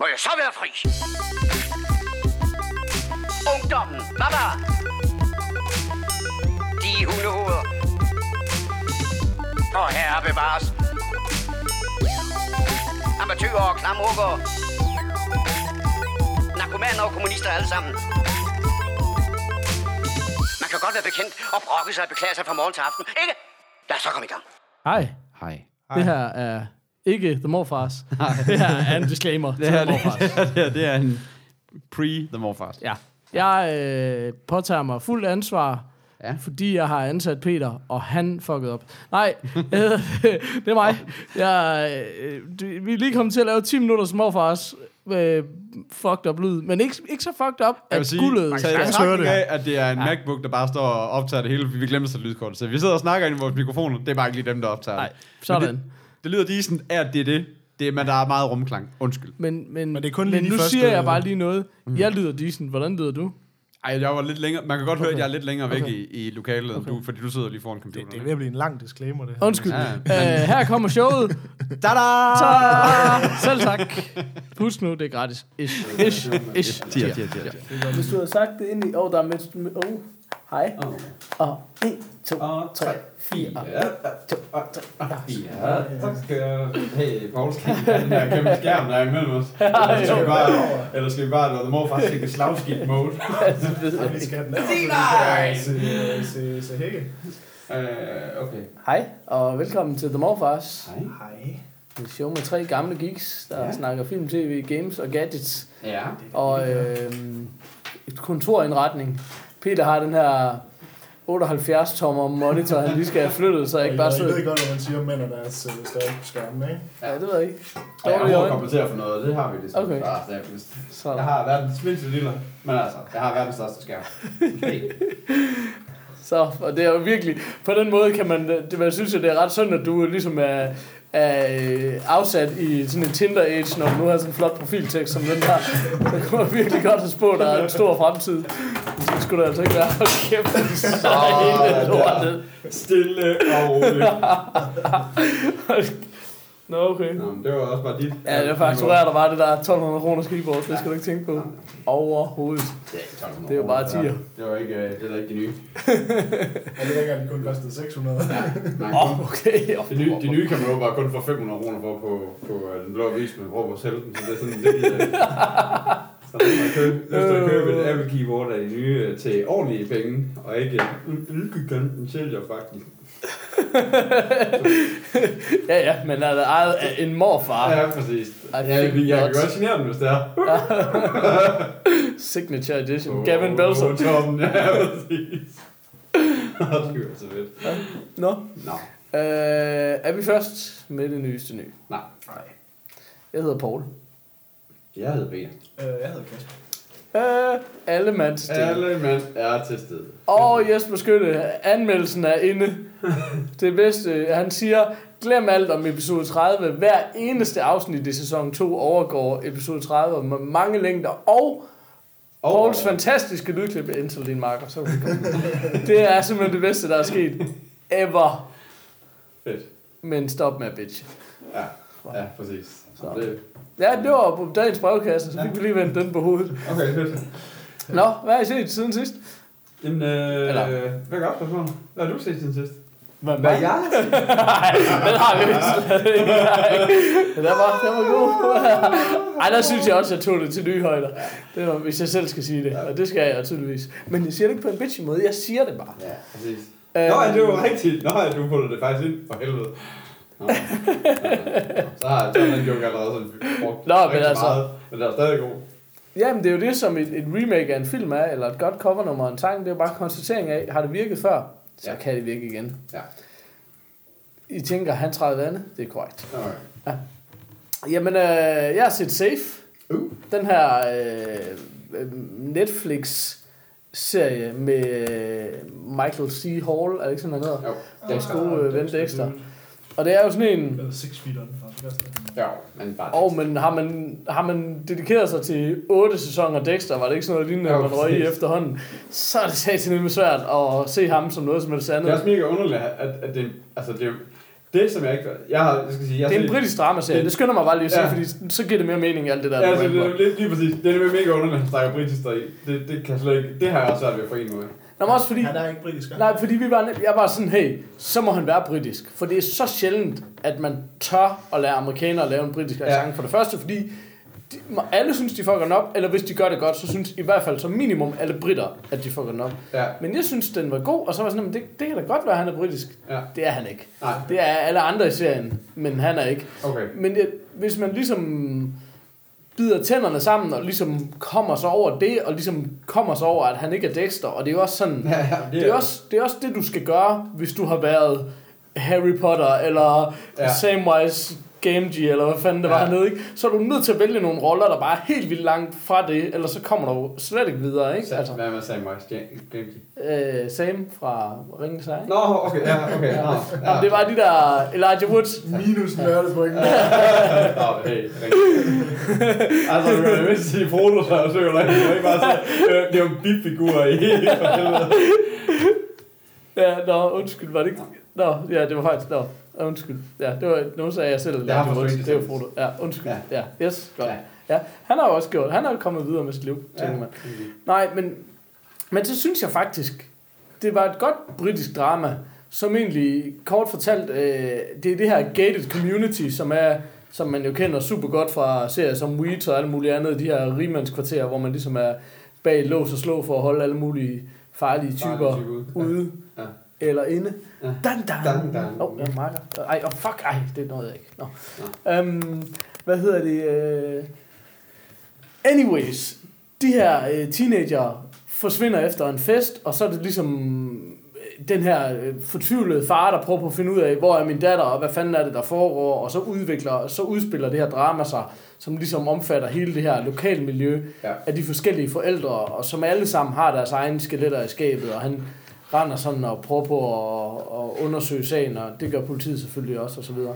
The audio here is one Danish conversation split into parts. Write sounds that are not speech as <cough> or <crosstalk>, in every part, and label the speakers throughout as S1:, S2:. S1: må jeg så være fri? Ungdommen, baba! De hundehoveder. Og herre bevares. Amatøger og klamrukker. Narkomaner og kommunister alle sammen. Man kan godt være bekendt og brokke sig og beklage sig fra morgen til aften, ikke? Lad os så komme i gang.
S2: Hej,
S3: Hej.
S2: det her er ikke The Morfars. Det her er en disclaimer til
S3: Det her,
S2: The
S3: det,
S2: Morfars.
S3: <laughs> det, her, det er en pre-The Morfars.
S2: Ja. Jeg øh, påtager mig fuld ansvar,
S3: Ja.
S2: ja. fordi jeg har ansat Peter, og han fuckede op. Nej, <laughs> øh, det er mig. Jeg, øh, du- vi er lige kommet til at lave 10 minutter små for os. Øh, fucked up lyd, men ikke, ikke så fucked up,
S3: Jeg vil
S2: at
S3: sige,
S2: guldet...
S3: taget i
S4: sagtens
S3: betragtning
S4: høre
S3: af, at det er en MacBook, der bare står og optager det hele, fordi vi glemte at sætte lydkortet til. Vi sidder og snakker ind i vores mikrofoner, det er bare ikke lige dem, der optager
S2: Nej,
S3: det. Men
S2: sådan.
S3: Det, det lyder lige sådan, at det er det. det er, men der er meget rumklang. Undskyld.
S2: Men, men,
S4: Men det er kun
S2: men
S4: lige de
S2: nu
S4: første-
S2: siger jeg bare lige noget. Mm. Jeg lyder decent. Hvordan lyder du?
S3: Ej, jeg var lidt længere. Man kan godt okay. høre, at jeg er lidt længere væk
S2: Okay.
S3: okay. i, i lokalet, okay. end du, fordi du sidder lige foran
S4: Det,
S3: computeren.
S4: det er ved at blive en lang disclaimer, det her.
S2: Undskyld.
S3: Ja,
S2: Ja,
S3: men-
S2: øh, her kommer showet.
S3: Da-da!
S2: Ta- Selv tak. Husk nu, det er gratis. Ish, ish, ish.
S3: Tier, tier, tier, tier.
S5: Hvis du havde sagt det ind i... Åh, oh, der er mindst... Åh, oh, hej. Og 1, 2, 3, 4.
S3: Ja, tak skal jeg. Hey, Paul, skal vi have den her kæmpe skærm, der er imellem os? Eller skal vi bare, eller skal vi bare lade mor faktisk ikke slagskilt mode?
S4: Ej, vi skal have den der. Se, se, se, hække.
S3: Øh, okay.
S5: Hej, og velkommen til The Morfars.
S3: Hej.
S4: Hej.
S5: Et show med tre gamle geeks, der
S3: Ja.
S5: ja. snakker film, tv, games og gadgets.
S3: Ja.
S5: Og øh, et kontorindretning. Peter har den her 78-tommer monitor, han lige skal have flyttet, så jeg
S4: Jeg,
S5: ikke bare
S4: jeg ved
S5: sidder...
S4: godt, hvad man siger om mænd og deres øh, større skærme, ikke?
S5: Ja, det ved jeg ikke.
S3: Og jeg
S5: Dårlige
S3: har
S5: øjne.
S3: kommet til at få noget, det har vi ligesom.
S5: Okay.
S3: Ah, det er vist. Jeg
S5: Så,
S3: har verdens mindste lille, men altså, jeg har verdens største skærm.
S5: så, og det er jo virkelig... På den måde kan man... Det, jeg synes, at det er ret synd, at du ligesom er, er øh, afsat i sådan en Tinder-age, når du nu har sådan en flot profiltekst som den her. Så kunne man virkelig godt have spået, der er en stor fremtid. Men så skulle der altså ikke være... Hold kæft, så
S3: Sådan
S5: hele
S3: der.
S5: lortet.
S3: Stille og roligt.
S5: Nå, okay.
S3: Nå, men det var også bare dit.
S5: Ja, det fakturerer der bare det der 1200 kroner skateboard, det skal du ikke tænke på. Overhovedet.
S3: Det er ikke 1200
S5: Det er jo bare
S3: kroner, det der.
S5: 10'er.
S3: Det var ikke, øh, det er da ikke de nye.
S4: Og det dengang, den kun kostede 600.
S3: Nej,
S5: Åh, oh, okay.
S3: Det nye, de nye kan man jo bare kun få 500 kroner for på, på øh, den blå avis med råb og sælge den, så det er sådan lidt...
S5: <laughs>
S3: øh, Så man kan købe, lyst til at købe et
S5: Øh.
S3: Apple Keyboard af de nye øh, til ordentlige penge, og ikke øh, ylkekanten sælger faktisk.
S5: Ja, ja, men er det ejet af en morfar?
S3: Ja, præcis.
S5: Ej,
S3: Ja, jeg,
S5: fint
S3: jeg kan
S5: godt.
S3: godt genere den, hvis det er.
S5: Signature Edition.
S3: Åh,
S5: Gavin
S3: åh,
S5: Belson.
S3: Tom, <laughs> ja,
S5: <laughs>
S3: præcis. Åh, det var så fedt.
S5: Nå.
S3: Nå,
S5: Øh, er vi først med det nyeste nye?
S3: nej.
S5: Jeg hedder Paul.
S3: Jeg hedder Peter.
S4: Øh, jeg hedder Kasper.
S5: Øh, alle mands til.
S3: Alle mand er til stede.
S5: Og Jesper Skytte, anmeldelsen er inde. Det bedste, han siger, glem alt om episode 30. Hver eneste afsnit i sæson 2 overgår episode 30 med mange længder og
S3: Og-
S5: Pauls fantastiske lydklip af Intel, din marker. Så er vi kommet. det er simpelthen det bedste, der er sket ever.
S3: Fedt.
S5: Men stop med, bitch.
S3: Ja, ja præcis. Så det,
S5: Ja, det var på dagens brevkasse, så fik vi lige vendt den på hovedet.
S3: okay, fedt.
S5: Nå, hvad har I set siden sidst?
S3: Jamen, øh,
S5: Eller-
S3: hvad gør du for Hvad har du set siden sidst?
S5: Hvad, <laughs>
S3: jeg har set?
S5: Den har vi vist slet ikke. Den var, den var god. Ej, der synes jeg også, jeg tog det til nye højder. Det var, hvis jeg selv skal sige det, og det skal jeg tydeligvis. Men jeg siger det ikke på en bitchy måde, jeg siger det bare. Øhm,
S3: Ja, præcis. Nå, ja, det var rigtigt. Nå, ja, du puttede det faktisk ind. For helvede.
S5: <laughs>
S3: Nå. Nå, Så har så har den joke allerede sådan brugt
S5: Nå, men
S3: rigtig
S5: altså-
S3: meget, men den er stadig god.
S5: Jamen, det er jo det, som et, et remake af en film er, eller et godt covernummer af en sang. Det er jo bare konstatering af, har det virket før, så
S3: Ja.
S5: ja. kan det virke igen.
S3: Ja.
S5: I tænker, han træder vandet? Det er korrekt.
S3: Okay.
S5: Jamen, øh, jeg har set Safe.
S3: Uh.
S5: Den her øh, øh, Netflix-serie med øh, Michael C. Hall, er det ikke sådan, han hedder?
S3: Jo,
S5: Deres
S4: Ah,
S5: gode øh, ven Dexter.
S4: dude.
S5: Og det er jo sådan en...
S4: Eller 6 feet on fra første.
S3: jo, men bare...
S5: Og men har man, har man dedikeret sig til otte sæsoner Dexter, var det ikke sådan noget lignende,
S3: Jo,
S5: man røg i
S3: præcis.
S5: efterhånden, så er det satme svært at se ham som noget som helst
S3: Det er
S5: andet.
S3: også mega underligt, at, at det, altså det, Det, som jeg ikke... Jeg har, jeg skal sige... Jeg
S5: Det er en
S3: set-
S5: britisk dramaserie,
S3: Det-
S5: det skynder mig bare lige at sige,
S3: Ja.
S5: ja. fordi så giver det mere mening alt det der.
S3: Ja,
S5: du
S3: altså,
S5: var inde på.
S3: det, det, lige præcis. Det er nemlig mega underligt, at han snakker britisk deri. Det, det kan jeg slet ikke... Det har jeg også svært ved at forene med.
S5: Nå, men også fordi,
S4: Han er ikke britisk. er han?
S5: nej, fordi vi var, jeg var sådan, hey, så må han være britisk. For det er så sjældent, at man tør at lære amerikanere lave en britisk accent. For det første, fordi de, må- alle synes, de fucker den op, eller hvis de gør det godt, så synes i hvert fald som minimum alle britter, at de fucker den op.
S3: Ja,
S5: Men jeg synes, den var god, og så var jeg sådan, "Jamen, det, det kan da godt være, at han er britisk.
S3: ja.
S5: Det er han ikke.
S3: Nej,
S5: Det er alle andre i serien, men han er ikke.
S3: okay.
S5: Men det, hvis man ligesom bider tænderne sammen og ligesom kommer sig over det, og ligesom kommer sig over, at han ikke er Dexter, og det er jo også sådan,
S3: Ja, ja,
S5: det er også det, er også det du skal gøre, hvis du har været Harry Potter, eller
S3: Ja.
S5: ja. Samwise Gamgee, eller hvad fanden det var
S3: Ja.
S5: ja. hernede, ikke? så er du nødt til at vælge nogle roller, der bare er helt vildt langt fra det, ellers så kommer du slet ikke videre, ikke?
S3: Sat,
S5: Altså,
S3: hvad med Sam Rice? Gamgee.
S5: øh, Sam fra Ringens Herre, ikke?
S3: Nå, okay, ja, okay. Nå,
S5: Ja. Jamen, det var de der Elijah Woods.
S4: Minus nørdepoint.
S3: Nå, hey, rigtig. Altså, du kan jo ikke sige Frodo, så jeg søger dig. Du kan ikke bare sige, øh, det er jo en bifigur i hele
S5: Ja, nå, undskyld, var det ikke... Nå, ja, det var faktisk... Nå, ja, undskyld. Ja, det var... Nogen sagde jeg selv. eller
S3: har
S5: det var,
S3: forstået
S5: det var
S3: det.
S5: Frodo. Ja, undskyld.
S3: Ja.
S5: Ja, yes, godt.
S3: Ja.
S5: Ja. han har jo også gjort... Han er jo kommet videre med sit liv, tænker man. Nej, men... Men så synes jeg faktisk, det var et godt britisk drama, som egentlig, kort fortalt, øh, det er det her gated community, som er som man jo kender super godt fra serier som Weeds og alt muligt andet, de her rigmandskvarterer, hvor man ligesom er bag lås og slå for at holde alle mulige farlige typer ude
S3: Ja.
S5: ja. eller inde.
S3: Ja.
S5: Ja. Dan, dan.
S3: Dan, dan.
S5: Oh, jeg marker. Ej, oh, fuck, ej, det nåede jeg ikke. Nå. Øhm, hvad hedder det? øh, Anyways, de her øh, teenager forsvinder efter en fest, og så er det ligesom øh, den her øh, fortvivlede far, der prøver på at finde ud af, hvor er min datter, og hvad fanden er det, der foregår, og så udvikler, så udspiller det her drama sig, som ligesom omfatter hele det her lokalmiljø
S3: Ja.
S5: ja. af de forskellige forældre, og som alle sammen har deres egne skeletter i skabet, og han render sådan og prøver på at, at undersøge sagen, og det gør politiet selvfølgelig også, og så videre.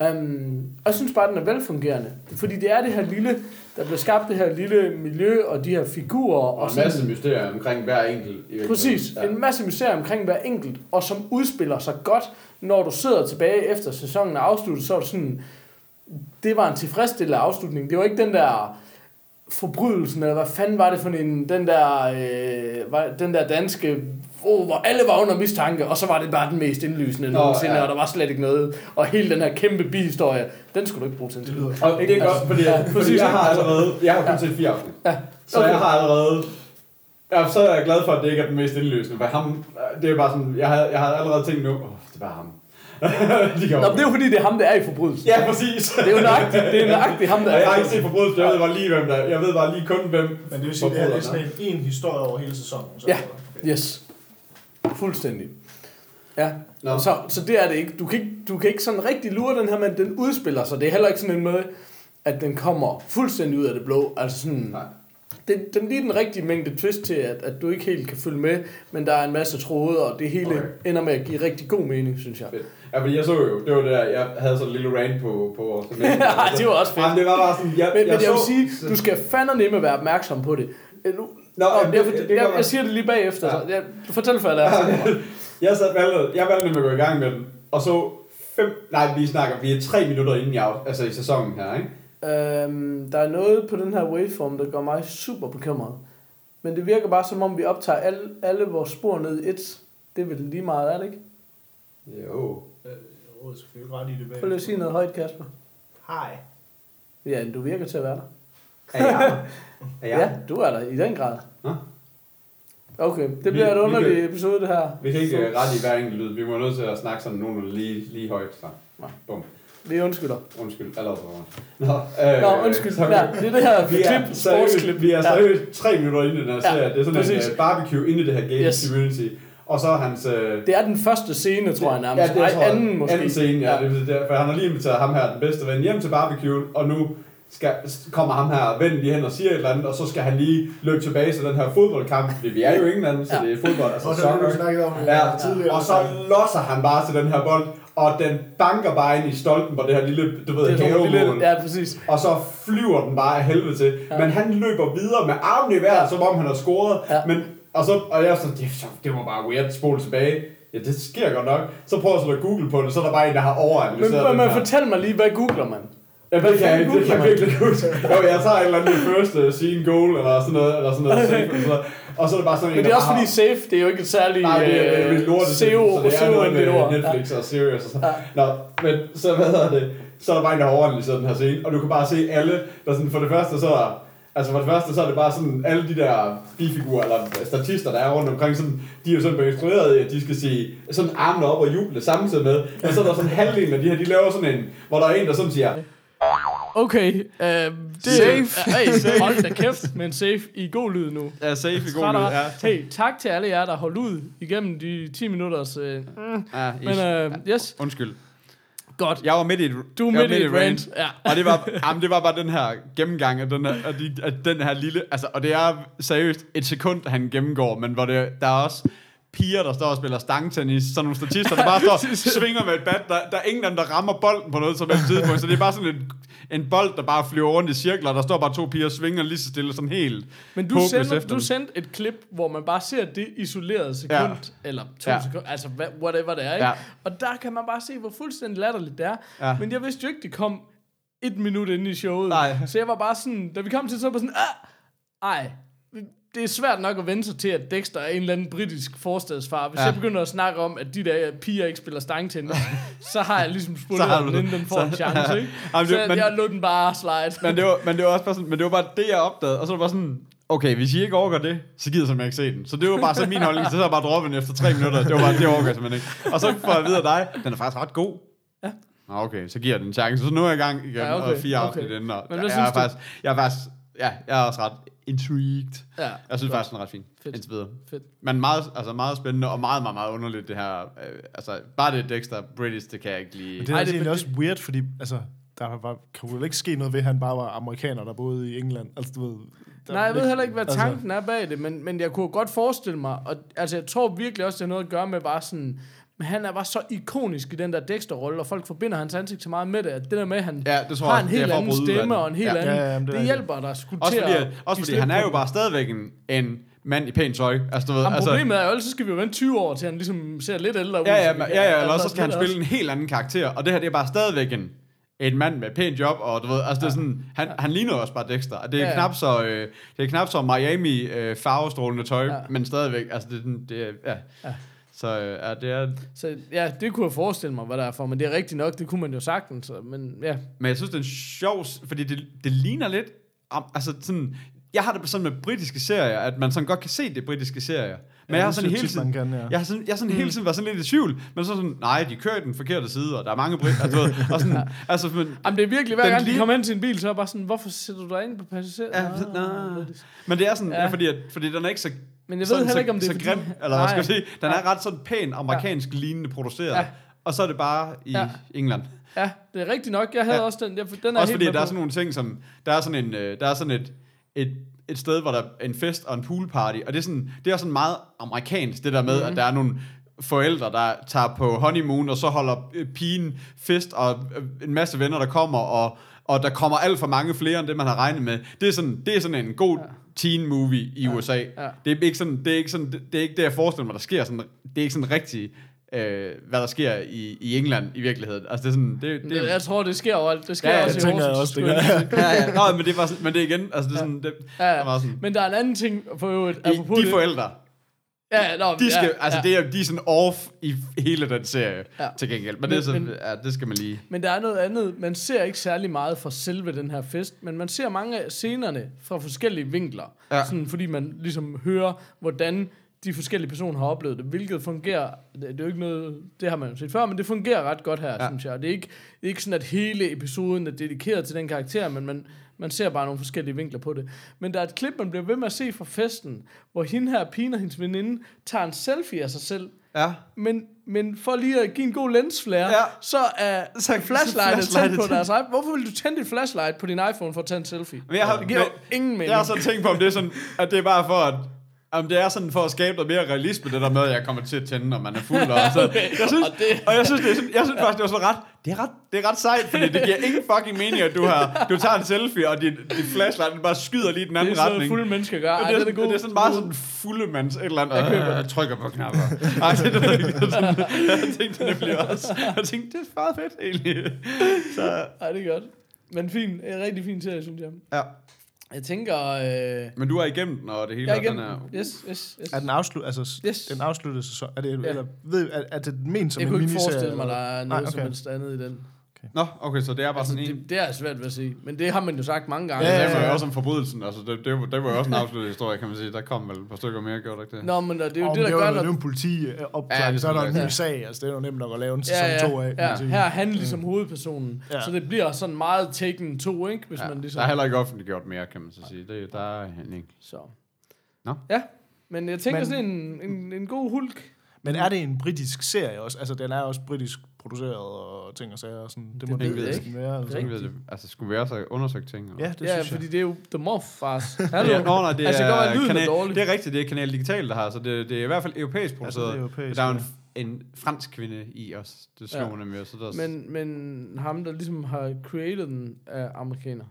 S5: Um, og jeg synes bare, den er velfungerende, fordi det er det her lille, der bliver skabt det her lille miljø, og de her figurer,
S3: Og en masse mysterier omkring hver enkelt. i virkeligheden.
S5: Præcis.
S3: Ja.
S5: En masse mysterier omkring hver enkelt, og som udspiller sig godt, når du sidder tilbage efter sæsonen er afsluttet, så er du sådan, det var en tilfredsstillende afslutning. Det var ikke den der forbrydelsen, eller hvad fanden var det for en, den der, øh, var, den der danske, oh, hvor alle var under mistanke, og så var det bare den mest indlysende
S3: Nå,
S5: nogensinde,
S3: ja.
S5: ja. og der var slet ikke noget, og hele den her kæmpe bihistorie, den skulle du ikke bruge til en
S4: Det lyder
S3: Og det er godt, fordi,
S5: Altså, Ja,
S3: ja, fordi
S5: præcis.
S3: jeg har allerede, jeg har kun set fire afsnit. Ja. Så
S5: okay.
S3: jeg har allerede, ja, så er jeg glad for, at det ikke er den mest indløsende, for ham, det er bare sådan, jeg havde, jeg havde allerede tænkt nu, oh, det er bare ham. <laughs> De kan
S5: Nå, men det er jo fordi, det er ham, der er i forbrydelsen.
S3: Ja, præcis.
S5: Det er jo nøjagtigt, det er nøjagtigt ham, der
S3: Og
S5: er i
S3: jeg har ikke
S5: forbrydelsen.
S3: set forbrydelsen, jeg ved bare lige, hvem der Jeg ved bare lige kun, hvem
S4: Men det vil sige, at det her det er
S3: forbryderen
S4: sådan en, en historie over hele sæsonen. Så
S5: Ja.
S4: Okay.
S5: Yes. Fuldstændig. Ja.
S3: Nå.
S5: Nå. Så, så det er det ikke. Du kan ikke, du kan ikke sådan rigtig lure den her, men den udspiller sig. Det er heller ikke sådan en måde, at den kommer fuldstændig ud af det blå. Altså sådan,
S3: Nej.
S5: det, den lige den rigtige mængde twist til, at, at du ikke helt kan følge med, men der er en masse tråde, og det hele
S3: Okay.
S5: okay. ender med at give rigtig god mening, synes jeg.
S3: Fedt. Ja, fordi jeg så jo, det var det der, jeg havde sådan en lille rant på, på
S5: <laughs>
S3: vores
S5: Ej, det var også fedt.
S3: Jamen, det var bare sådan, jeg,
S5: Men, men jeg vil
S3: så-
S5: sige, du skal fandme nemme være opmærksom på det. Øh, Nu,
S3: Nå,
S5: Nå,
S3: jamen,
S5: jeg,
S3: det-
S5: jeg,
S3: det
S5: jeg,
S3: kommer-
S5: jeg siger det lige bagefter.
S3: Ja.
S5: Ja. Så jeg, fortæl før, jeg lader.
S3: Jeg, sad, valgte, jeg valgte nemlig at gå i gang med den, og så fem, nej, vi snakker, vi er tre minutter inde i, af- altså i sæsonen her, ikke?
S5: Øhm, der er noget på den her waveform, der gør mig super bekymret. Men det virker bare som om, vi optager alle, alle vores spor ned i et. Det er vel lige meget, er det ikke?
S3: Jo.
S4: Åh, jeg skal jo ikke ret i det bag.
S5: Prøv lige at sige noget højt, Kasper.
S4: Hej.
S5: Ja, du virker til at være der.
S3: Er
S5: <laughs>
S3: jeg? Er jeg?
S5: ja du er der i den grad.
S3: Nå.
S5: Okay, det
S3: Vi-
S5: bliver et
S3: vi
S5: underligt
S3: kan-
S5: episode, det her.
S3: Vi kan ikke øh, rette i hver enkelt lyd. Vi må nødt til at snakke sådan nogenlunde lige, lige højt. Så. Nå, Bum.
S5: Vi undskylder.
S3: Undskyld. Allerede. for meget. Nå, øh,
S5: Nå, undskyld.
S3: så-
S5: Ja, det er det her
S3: Vi er,
S5: klip,
S3: seriøst,
S5: sportsklip.
S3: vi er
S5: Ja.
S3: seriøst tre minutter inde i den her
S5: Ja,
S3: serie. det er sådan
S5: præcis.
S3: en uh, barbecue inde i det her gated yes.
S5: Yes.
S3: community. Og så er hans... Uh, det
S5: Det er den første scene, tror jeg nærmest. Ja, Ej, anden måske.
S3: Anden scene, ja. ja. Det, er der, for han har lige inviteret ham her, den bedste ven, hjem til barbecue, og nu skal, kommer ham her ven lige hen og siger et eller andet, og så skal han lige løbe tilbage til den her fodboldkamp, fordi vi er jo ingen anden, så
S5: Ja.
S3: det er fodbold,
S4: Og
S3: altså
S4: det har
S3: soccer.
S4: du snakket om øh,
S3: Ja,
S4: tidligere.
S3: og så losser han bare til den her bold, og den banker bare ind i stolpen på det her lille, du ved,
S5: Det er sådan en
S3: havemål.
S5: lille, ja, præcis.
S3: Og så flyver den bare af helvede til. Ja. Men han løber videre med armen i vejret, ja. som om han har scoret.
S5: Ja.
S3: Men, og, så, og jeg er sådan, det, så- det var bare weird, spol tilbage.
S6: Ja, det sker godt nok. Så prøver jeg så at google på det, så er der bare en, der har
S7: Men,
S6: overanalyseret
S7: men,
S6: den
S7: men
S6: her.
S7: fortæl mig lige, hvad googler man?
S6: Ja, det kan jeg ikke. Det kan jeg
S7: Google.
S6: virkelig ikke huske. Jo, jeg tager et eller andet first uh, scene goal, eller sådan noget, eller sådan noget, safe, eller sådan noget. Og så er det bare sådan en,
S7: Men det er
S6: der
S7: også
S6: bare
S7: fordi
S6: har-
S7: safe, det er jo ikke et særligt øh,
S6: Nej, det er- det er lidt lortet.
S7: SEO,
S6: så det er
S7: SEO
S6: noget
S7: end det
S6: med
S7: ord.
S6: Netflix og Sirius og sådan. Nå, men så hvad hedder det? Så er der bare en, der har overanalyseret den her scene, og du kan bare se alle, der sådan, for det første så er Altså for det første, så er det bare sådan, alle de der bifigurer, eller statister, der er rundt omkring, sådan, de er jo sådan blevet instrueret i, at de skal sige sådan armene op og juble samtidig med. Men så er der sådan halvdelen af de her, de laver sådan en, hvor der er en, der sådan siger,
S5: Okay, øh, det
S3: Safe.
S5: Hey, hold da kæft, men safe i god lyd nu.
S3: Ja, safe i god
S5: Træt
S3: lyd.
S5: af-
S3: Ja.
S5: Hey, tak til alle jer, der holdt ud igennem de 10 minutters... Øh,
S3: Ja,
S5: men
S3: ish.
S5: øh, yes,
S3: Undskyld.
S5: godt.
S3: Jeg var midt i et,
S5: Du er
S3: jeg var
S5: midt i et rant. Ja.
S3: Og det var, jamen, det var bare den her gennemgang af den her, af de, af den her lille... Altså, og det er seriøst et sekund, han gennemgår, men hvor det, der er også piger, der står og spiller stangtennis, sådan nogle statister, der
S5: <laughs>
S3: bare står og svinger med et bat. Der, der er ingen af dem, der rammer bolden på noget som helst tidspunkt, så det er bare sådan en, en bold, der bare flyver rundt i cirkler, og der står bare to piger og svinger lige så stille, sådan helt
S5: Men du,
S3: håbløst
S5: sender,
S3: efter
S5: du
S3: dem.
S5: sendte et klip, hvor man bare ser det isolerede sekund, ja. eller to
S3: Ja.
S5: ja. sekunder, altså hva- whatever det er, ikke?
S3: Ja.
S5: Ja. Og der kan man bare se, hvor fuldstændig latterligt det er.
S3: Ja.
S5: Ja. Men jeg vidste jo ikke, det kom et minut inde i showet.
S3: Nej.
S5: Så jeg var bare sådan, da vi kom til, så var jeg bare sådan, "Ah, ej, det er svært nok at vende sig til, at Dexter er en eller anden britisk forstadsfar. Hvis
S3: Ja.
S5: ja. jeg begynder at snakke om, at de der piger ikke spiller
S3: <laughs>
S5: stangtennis, så har jeg ligesom
S3: Så har
S5: spoleret
S3: du
S5: den,
S3: det.
S5: inden den får
S3: Så-
S5: en chance,
S3: <laughs> Ja.
S5: ikke?
S3: Jamen,
S5: så
S3: det-
S5: jeg,
S3: men-
S5: jeg lod den bare slide.
S3: men det var, men det var også bare sådan, men det var bare det, jeg opdagede. Og så var det bare sådan, okay, hvis I ikke overgår det, så gider jeg simpelthen ikke se den. Så det var bare sådan min holdning, så havde jeg bare droppet den efter tre minutter. Det var bare, det overgår jeg simpelthen ikke. Og så får jeg videre dig, den er faktisk ret god. Ja. Nå, okay, så giver jeg den en chance. Så nu er jeg i gang igen, ja,
S5: Ja,
S3: okay,
S5: okay,
S3: og fire afsnit okay.
S5: okay.
S3: inden. Og
S5: Men
S3: jeg,
S5: hvad
S3: jeg,
S5: synes
S3: er
S5: du?
S3: faktisk, jeg er faktisk, ja, jeg er også ret intrigued.
S5: Ja,
S3: Jeg synes faktisk, den er ret fin.
S5: Fedt.
S3: Indtil videre.
S5: Fedt.
S3: Men meget, altså meget spændende og meget, meget, meget underligt det her. Øh, altså, bare det Dexter British, det kan jeg ikke lide.
S4: Men det er
S5: Ej,
S4: altså
S5: det-
S4: egentlig også weird, fordi altså, der var, kan jo ikke ske noget ved, at han bare var amerikaner, der boede i England. Altså, du ved, der Altså,
S5: Nej,
S4: var
S5: jeg ved
S4: ikke-
S5: heller ikke, hvad tanken er bag det, men, men jeg kunne godt forestille mig, og altså, jeg tror virkelig også, det har noget at gøre med bare sådan, men han er bare så ikonisk i den der Dexter-rolle, og folk forbinder hans ansigt så meget med det, at det der med, at han
S3: Ja, det tror
S5: har
S3: jeg,
S5: en
S3: det er
S5: helt
S3: for at
S5: anden
S3: bryde ud af
S5: stemme
S3: det.
S5: og en helt
S3: Ja.
S5: anden,
S4: Ja, ja, jamen, det
S5: det,
S4: er
S5: det
S4: rigtigt.
S5: hjælper dig sgu
S3: Også
S5: til
S3: fordi,
S5: at
S3: at, også
S5: give
S3: fordi han
S5: slip
S3: er
S5: på
S3: jo
S5: den.
S3: bare stadigvæk en, en mand i pænt tøj. Altså, du ved,
S5: Jamen,
S3: altså,
S5: problemet er jo, ellers så skal vi jo vente 20 år, til han ligesom ser lidt ældre ud.
S3: ja, ja,
S5: så vi
S3: ja,
S5: kan-
S3: ja, ja, eller
S5: altså,
S3: også så skal han
S5: det er
S3: spille en helt anden karakter, og det her, det er bare stadigvæk en, en mand med pænt job, og du ved, altså det er sådan, han, han ligner også bare Dexter, og det er
S5: Ja, ja.
S3: knap så, øh, det er knap så Miami øh, farvestrålende tøj, men stadigvæk, altså det er sådan, det er, ja. Så øh, ja, det er,
S5: Så ja, det kunne jeg forestille mig, hvad der er for, men det er rigtigt nok, det kunne man jo sagtens, så- men ja.
S3: Men jeg synes, det er en sjov... s- Fordi det, det ligner lidt... om- Altså sådan... Jeg har det sådan med britiske serier, at man sådan godt kan se det britiske serier. Men
S4: Ja,
S3: jeg har
S4: det
S3: sådan
S4: synes
S3: hele
S4: jeg tit,
S3: tiden...
S4: man kan, ja.
S3: Jeg har sådan, jeg har sådan
S5: Mm.
S3: hele tiden været sådan lidt i tvivl. Men så sådan... Nej, de kører i den forkerte side, og der er mange britter... Altså, du ved,
S5: <laughs>
S3: og sådan... Altså, men,
S5: Jamen, det er virkelig, hver
S3: Den
S5: gang de
S3: lige-
S5: kommer hen til en bil, så er jeg bare sådan, hvorfor sætter du dig ind på passager?
S3: ja,
S5: Nå,
S3: nej. Men det er sådan... Ja.
S5: Ja.
S3: fordi, at, fordi den er ikke så...
S5: Men jeg ved
S3: sådan
S5: heller
S3: så-
S5: ikke, om det er
S3: så
S5: fordi-
S3: grim, eller hvad skal
S5: Nej.
S3: jeg sige. Den er ret sådan pæn amerikansk lignende produceret.
S5: Ja.
S3: Og så er det bare i
S5: Ja.
S3: England.
S5: Ja, det er rigtigt nok. Jeg havde
S3: Ja.
S5: ja. også den. Jeg, den er helt
S3: Også fordi
S5: med
S3: der
S5: på.
S3: er sådan nogle ting som der er sådan en øh, der er sådan et et et sted hvor der er en fest og en poolparty, og det er sådan det er sådan meget amerikansk det der med
S5: Mhm.
S3: mm-hmm. at der er nogle forældre, der tager på honeymoon, og så holder øh, pigen fest, og øh, en masse venner, der kommer, og, og der kommer alt for mange flere, end det, man har regnet med. Det er sådan, det er sådan en god ja. teen movie i ja. USA. Ja. Det, er ikke sådan, det er ikke sådan, det, det er ikke det, jeg forestiller mig, der sker. Sådan, det er ikke sådan rigtig, øh, hvad der sker i, i England i virkeligheden. Altså, det er sådan, det, det,
S5: Jeg tror, det sker overalt. Det sker
S3: Ja, ja,
S5: ja,
S3: det
S5: også i Horsens.
S4: tænker jeg også, det
S5: skulle
S4: gør.
S5: jeg lige sige.
S3: ja, ja. <laughs> Nå, men det var sådan, men det er igen, altså det er sådan, det, ja, ja.
S5: ja.
S3: Det var sådan.
S5: Men der er en anden ting for øvrigt.
S3: De,
S5: apropos
S3: de
S5: det.
S3: forældre,
S5: Ja, nå,
S3: de skal,
S5: ja,
S3: altså
S5: ja.
S3: det er, de er sådan off i hele den serie, ja.
S5: Ja.
S3: til gengæld. Men, det, er
S5: Men-
S3: sådan,
S5: men-
S3: ja, det skal man lige.
S5: Men der er noget andet. Man ser ikke særlig meget fra selve den her fest, men man ser mange af scenerne fra forskellige vinkler.
S3: Ja.
S5: Sådan, fordi man ligesom hører, hvordan de forskellige personer har oplevet det, hvilket fungerer, det, det er jo ikke noget, det har man jo set før, men det fungerer ret godt her, ja. synes jeg. Og det er, ikke, det er ikke sådan, at hele episoden er dedikeret til den karakter, men man, man ser bare nogle forskellige vinkler på det. Men der er et klip, man bliver ved med at se fra festen, hvor hende her, pigen og hendes veninde, tager en selfie af sig selv,
S3: Ja.
S5: men, men for lige at give en god lensflare,
S3: Ja.
S5: ja. så er
S3: <laughs> Så er
S5: så flashlightet
S3: flashlightet
S5: tændt på
S3: tændt.
S5: deres iPhone. Hvorfor vil du tænde dit flashlight på din iPhone for at tage en selfie?
S3: Men jeg har,
S5: det giver jo ingen mening.
S3: Jeg har så tænkt på, om det er sådan, at det er bare for, at Jamen, det er sådan for at skabe noget mere realisme, det der med, at jeg kommer til at tænde, når man er fuld. Og,
S5: <laughs>
S3: så, jeg synes, og, det... og jeg synes, det er sådan, jeg synes faktisk, det var sådan ret, det er ret, det er ret sejt, fordi det giver ingen fucking mening, at du, har, du tager en selfie, og din, din flashlight den bare skyder lige i den
S5: Det er
S3: anden
S5: sådan noget,
S3: retning.
S5: fulde mennesker gør. Ej,
S3: det,
S5: den er god.
S3: det er sådan meget sådan fulde mands et eller andet. Jeg køber. Øh, trykker på knapper. <laughs> Ej, det, det, det, det, sådan, jeg tænkte, det bliver også. Jeg tænkte, det er meget fedt egentlig. Så,
S5: Ej, det er godt. Men fin. En rigtig fin serie, synes jeg.
S3: ja.
S5: Jeg tænker... Øh,
S3: Men du er igennem den, og det hele
S5: jeg er
S3: og
S5: igen.
S3: den er...
S5: Yes, yes, yes.
S4: Er den afslut, altså s-
S5: Yes.
S4: den afsluttede sæson? Er det,
S5: Ja.
S4: eller, ved, er, er det ment som
S5: jeg
S4: en
S5: kunne
S4: miniserie?
S5: ikke forestille mig,
S4: eller
S5: der
S4: hvad?
S5: er noget
S4: Nej,
S5: som
S4: okay.
S5: helst andet i den.
S3: Nå, okay, så det er bare
S5: Altså,
S3: sådan en...
S5: det, det er svært ved at sige. Men det har man jo sagt mange gange.
S3: Ja,
S4: Ja,
S3: ja,
S4: ja,
S3: ja.
S4: ja.
S3: også om forbrydelsen. Altså, det, det, var, det var jo også en afsluttet historie, kan man sige. Der kom vel et par stykker mere, gjorde der ikke det?
S5: Nå, men og det er jo
S4: Og
S5: det, der gør,
S4: Det er jo
S5: når...
S4: en politiopklaring,
S3: Ja,
S4: ja,
S3: det
S4: så er der en
S3: er
S4: ny
S3: det.
S4: sag. Altså, det er jo nemt nok at lave en sæson
S5: Ja,
S4: 2
S5: ja,
S4: af. kan man
S5: ja.
S4: sige. Mm.
S5: Her er han ligesom hovedpersonen.
S4: Ja.
S5: Så det bliver sådan meget Taken 2, ikke? Hvis
S3: ja.
S5: man
S3: Der er
S5: ligesom...
S3: heller ikke offentliggjort mere, kan man så sige. Det, der er en enkelt.
S5: Så.
S3: Nå.
S5: Ja, men jeg tænker
S4: Men-
S5: sådan en, en, en god hulk.
S4: Men er det en britisk serie også? Altså, den er også britisk produceret og ting og sager. Og sådan. Det må
S5: ved
S4: det,
S5: jeg
S4: det ikke være. Altså.
S3: Jeg ved det. Altså, skulle vi også have undersøgt ting? Eller?
S4: Ja, det
S5: Ja,
S4: synes
S5: fordi
S4: jeg.
S5: det er jo The
S3: <laughs>
S5: Morfars. Hallo.
S3: Ja, nå, nej, det,
S5: Altså, det kan godt være,
S3: er
S5: lyden er
S3: kanal,
S5: dårlig.
S3: det er rigtigt, det er Kanal Digital, der har, så det, det er i hvert fald europæisk produceret.
S4: Altså, det er europæisk,
S3: Altså, der er jo en,
S4: ja.
S3: en fransk kvinde i os, det slog
S5: Ja.
S3: ja. nemlig også. Så der, men,
S5: Men, men ham, der ligesom har created den, er amerikaner.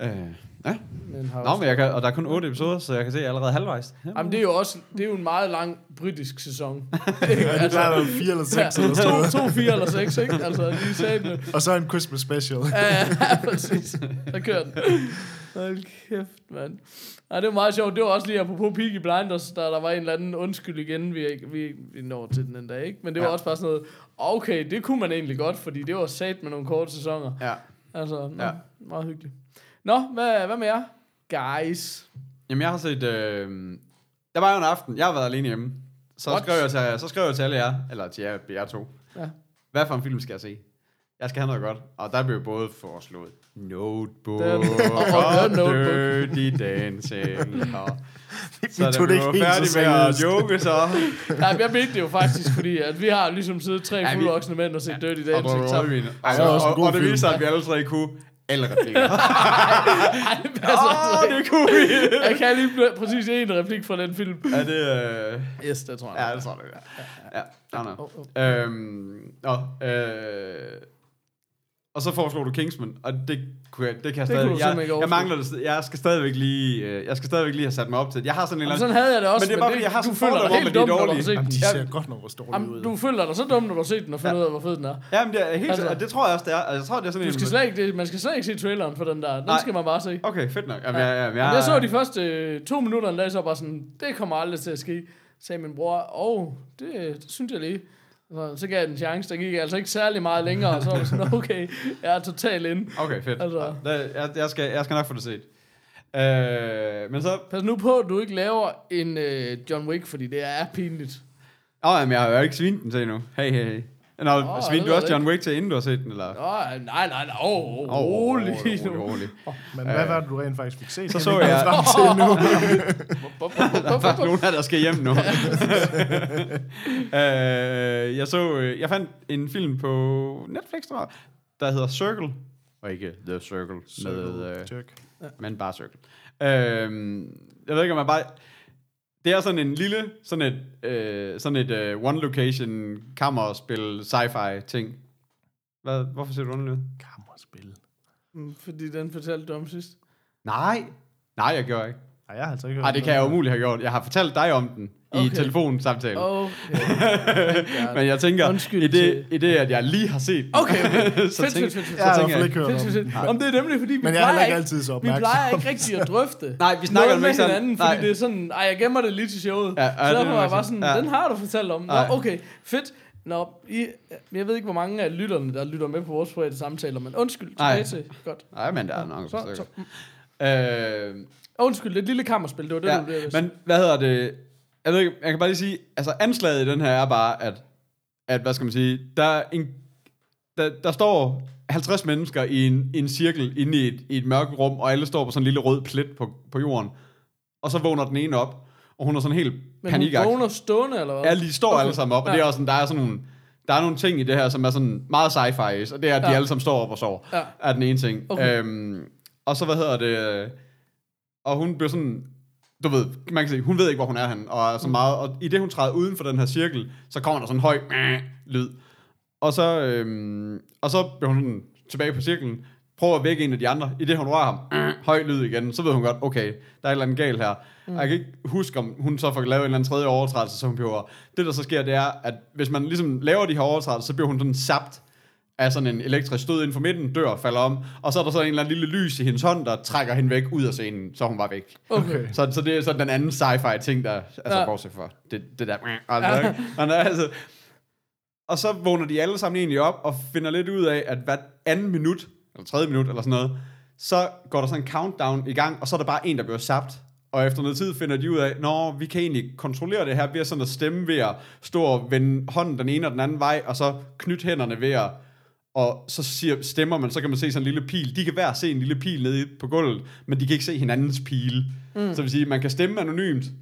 S3: øh, ja.
S5: Men har
S3: Nå, men jeg kan, og der er kun otte episoder, så jeg kan se allerede halvvejs.
S5: Jamen, det er jo også det er jo en meget lang britisk
S3: <laughs>
S5: sæson.
S4: Ja, det er der fire eller seks eller sådan noget.
S5: Altså, to, to, fire eller seks, ikke? Altså, lige sagde det.
S4: Og så en Christmas special.
S5: Ja, ja, præcis. Så kører den. Hold kæft, mand. Ej, det var meget sjovt. Det var også lige apropos Peaky Blinders, der, der var en eller anden undskyld igen, vi, ikke- vi, vi når til den endda, ikke? Men det var
S3: Ja.
S5: også bare sådan noget, okay, det kunne man egentlig godt, fordi det var sat med nogle korte sæsoner.
S3: Ja.
S5: Altså, nå, ja.
S3: Ja.
S5: meget hyggeligt. Nå, hvad, hvad med jer? Guys.
S3: Jamen, jeg har set... Øh, der var jo en aften, jeg har været alene hjemme. Så
S5: What?
S3: skrev, jeg til, så skrev jeg til alle jer, eller til jer, jer to.
S5: Ja.
S3: Hvad for en film skal jeg se? Jeg skal have noget godt. Og der blev både foreslået Notebook
S5: Den-
S3: og
S5: og Notebook.
S3: Dirty Dancing. Og, så
S4: tog det
S3: da vi
S4: ikke
S3: var
S4: helt så
S3: færdige med at
S4: seriøst.
S3: joke, så...
S5: Nej, men jeg mente det jo faktisk, fordi at vi har ligesom siddet tre
S3: vi-
S5: fuldvoksne mænd og set Dirty
S3: og drukket
S5: Dancing sammen.
S3: rødvin. Ej,
S4: Så er det
S3: og,
S4: også en
S3: og,
S4: god
S3: og, det
S4: film.
S3: viser sig, at vi alle tre kunne alle
S5: <laughs>
S3: replikker.
S5: Ej, det passer
S3: Åh,
S5: altså ikke.
S3: det kunne vi!
S5: Jeg kan lige bl- præcis en replik fra den film.
S3: Er det... Øh,
S5: Yes, det tror jeg.
S3: Ja, det tror jeg, det er. Ja, nej, nej.
S5: Åh,
S3: Øhm, nå, øh, og så foreslog du Kingsman, og det, kunne jeg, det kan
S5: kunne du
S3: jeg stadig...
S5: simpelthen
S3: jeg,
S5: ikke
S3: jeg
S5: overskue.
S3: mangler det. st- Jeg skal stadigvæk lige, øh, jeg skal stadigvæk lige have sat mig op til det. Jeg har sådan en
S5: Jamen,
S3: eller
S5: sådan havde jeg det også,
S3: Men det er bare, fordi jeg har
S5: du
S3: sådan
S5: føler dig
S3: fordomme om,
S5: helt
S3: at de er
S5: dum, når du har
S3: dårlige.
S5: set
S4: Jamen,
S5: den.
S4: de
S5: Ja,
S4: ser godt nok også dårlige
S5: Jamen,
S4: ud.
S5: du føler dig så dum, når du har set den og fundet ud af, hvor fed den er.
S3: Jamen, det er helt
S5: Altså-
S3: altså, det tror jeg også, det er. Altså, jeg tror, det er sådan
S5: Du
S3: en...
S5: skal slet ikke, det- man skal slet ikke se traileren for den der. Den
S3: Nej.
S5: skal man bare se.
S3: Okay, fedt nok. Jamen, ja. jeg, jeg,
S5: Jeg så de første øh, to minutter en dag, så bare sådan, det kommer aldrig til at ske, sagde min bror. Og oh, det, det synes jeg lige. Så, så gav jeg den en chance, der gik altså ikke særlig meget længere, og så var det sådan, okay, jeg er totalt inde.
S3: Okay, fedt.
S5: Altså-
S3: Altså. Jeg, jeg, skal, jeg skal nok få det set. Øh, men så...
S5: Pas nu på, at du ikke laver en øh, John Wick, fordi det er pinligt.
S3: Åh, jamen, jeg har jo ikke svinet den til endnu. Hey, hey, hey. Nå,
S5: Nå,
S3: oh,
S5: det
S3: svinede
S5: ved
S3: du også
S5: jeg
S3: John Wick til, inden du har set den, eller?
S5: Nå, nej, nej, nej, åh, oh,
S3: Åh,
S5: rolig. nu.
S3: <laughs> rolig.
S4: Men hvad var det, du rent faktisk fik set?
S3: Så
S4: Kan
S3: så
S4: vi ikke
S3: jeg-
S4: komme frem til nu?
S5: Bup, bup, bup,
S3: Der er
S5: bup,
S3: faktisk
S5: bup.
S3: nogen her, der skal hjem
S5: <laughs>
S3: nu. <laughs> øh, jeg så, øh, jeg fandt en film på Netflix, tror jeg, der hedder Circle. Og ikke The Circle, Circle. med, øh,
S4: Tyrk.
S3: men bare Circle. Øh, jeg ved ikke, om man bare... Det er sådan en lille, sådan et, øh, sådan et øh, one location kammerspil sci-fi ting. Hvad, hvorfor ser du underligt? ud?
S4: Kammerspil.
S5: Mm, Fordi den fortalte du om sidst.
S3: Nej. Nej, jeg gør ikke.
S4: Nej, jeg har altså ikke hørt
S3: Nej, det
S4: noget.
S3: kan jeg umuligt have gjort. Jeg har fortalt dig om den okay. i
S5: Okay.
S3: telefonsamtalen.
S5: Okay.
S3: Men jeg tænker,
S5: Undskyld
S3: i det,
S5: til-
S3: i det, at jeg lige har set den,
S5: Okay, okay.
S3: <laughs> så,
S5: Fedt,
S3: tænker,
S5: fedt, fedt, fedt.
S4: Jeg har i
S3: så
S4: hvert
S3: tænker
S4: fald
S3: jeg,
S4: ikke hørt om den.
S5: Om det er nemlig, fordi vi
S4: Men jeg er
S5: plejer
S4: heller ikke
S5: ikke,
S4: altid så
S5: vi
S4: opmærksom.
S5: plejer ikke rigtig at drøfte
S3: Nej, vi snakker
S5: noget
S3: om
S5: med
S3: ikke sådan-
S5: hinanden, fordi
S3: nej.
S5: det er sådan, ej, jeg gemmer det lige til showet.
S3: Ja, ja,
S5: så
S3: det
S5: derfor
S3: er
S5: var jeg
S3: nok
S5: bare sådan,
S3: sådan.
S5: ja.
S3: Ja.
S5: den har du fortalt om. Nå,
S3: Nej.
S5: okay, fedt. Nå, I, jeg ved ikke, hvor mange af lytterne, der lytter med på vores private samtaler, men undskyld, tilbage
S3: Nej.
S5: til. Godt.
S3: Nej, men der er nok
S5: Så-
S3: så, så. Øh,
S5: Undskyld, det er et lille kammerspil, det var det, ja,
S3: ja,
S5: du blev men,
S3: men hvad hedder det? Jeg ved ikke, jeg kan bare lige sige, altså anslaget i den her er bare, at, at hvad skal man sige, der, er en, der, der står 50 mennesker i en, i en cirkel inde i et, i et mørkt rum, og alle står på sådan en lille rød plet på, på jorden. Og så vågner den ene op, og hun er sådan helt
S5: men hun
S3: panikagtig.
S5: vågner stående, eller hvad?
S3: Ja, lige står okay. alle sammen op, og
S5: Ja.
S3: det er også sådan, der er sådan nogle, der er nogle ting i det her, som er sådan meget sci-fi, og det er, at de
S5: Ja.
S3: alle sammen står op og sover,
S5: Ja.
S3: er den ene ting.
S5: Okay.
S3: Øhm, Og så, hvad hedder det... øh, Og hun blev sådan... Du ved, man kan se, hun ved ikke, hvor hun er henne, og er
S5: Mm.
S3: så meget... Og i det, hun træder uden for den her cirkel, så kommer der sådan en høj "mæh" lyd. Og så, øhm, og så bliver hun sådan tilbage på cirklen, prøver at vække en af de andre, i det hun rører ham, "mæh", høj lyd igen, så ved hun godt, okay, der er et eller andet galt her. Mm. Jeg kan ikke huske, om hun så får lavet en eller anden tredje overtrædelse, som hun gjorde. Det, der så sker, det er, at hvis man ligesom laver de her overtrædelser, så bliver hun sådan sapt af sådan en elektrisk stød inden for midten, dør, falder om, og så er der sådan en eller anden lille lys i hendes hånd, der trækker hende væk ud af scenen, så er hun var væk.
S5: Okay.
S3: Så, så det er sådan den anden sci-fi ting, der, altså ja.
S5: Ja.
S3: bortset fra det, det der, altså, ikke? Men altså, og så vågner de alle sammen egentlig op og finder lidt ud af, at hvert anden minut, eller tredje minut, eller sådan noget, så går der sådan en countdown i gang, og så er der bare en, der bliver sabt. Og efter noget tid finder de ud af, nå, vi kan egentlig kontrollere det her ved sådan at stemme ved at stå og vende hånden den ene og den anden vej, og så knytte hænderne ved at og så siger, stemmer man, så kan man se sådan en lille pil. De kan hver se en lille pil nede på gulvet, men de kan ikke se hinandens pile. Mm. Så det vil sige, man kan stemme anonymt,
S5: Mm.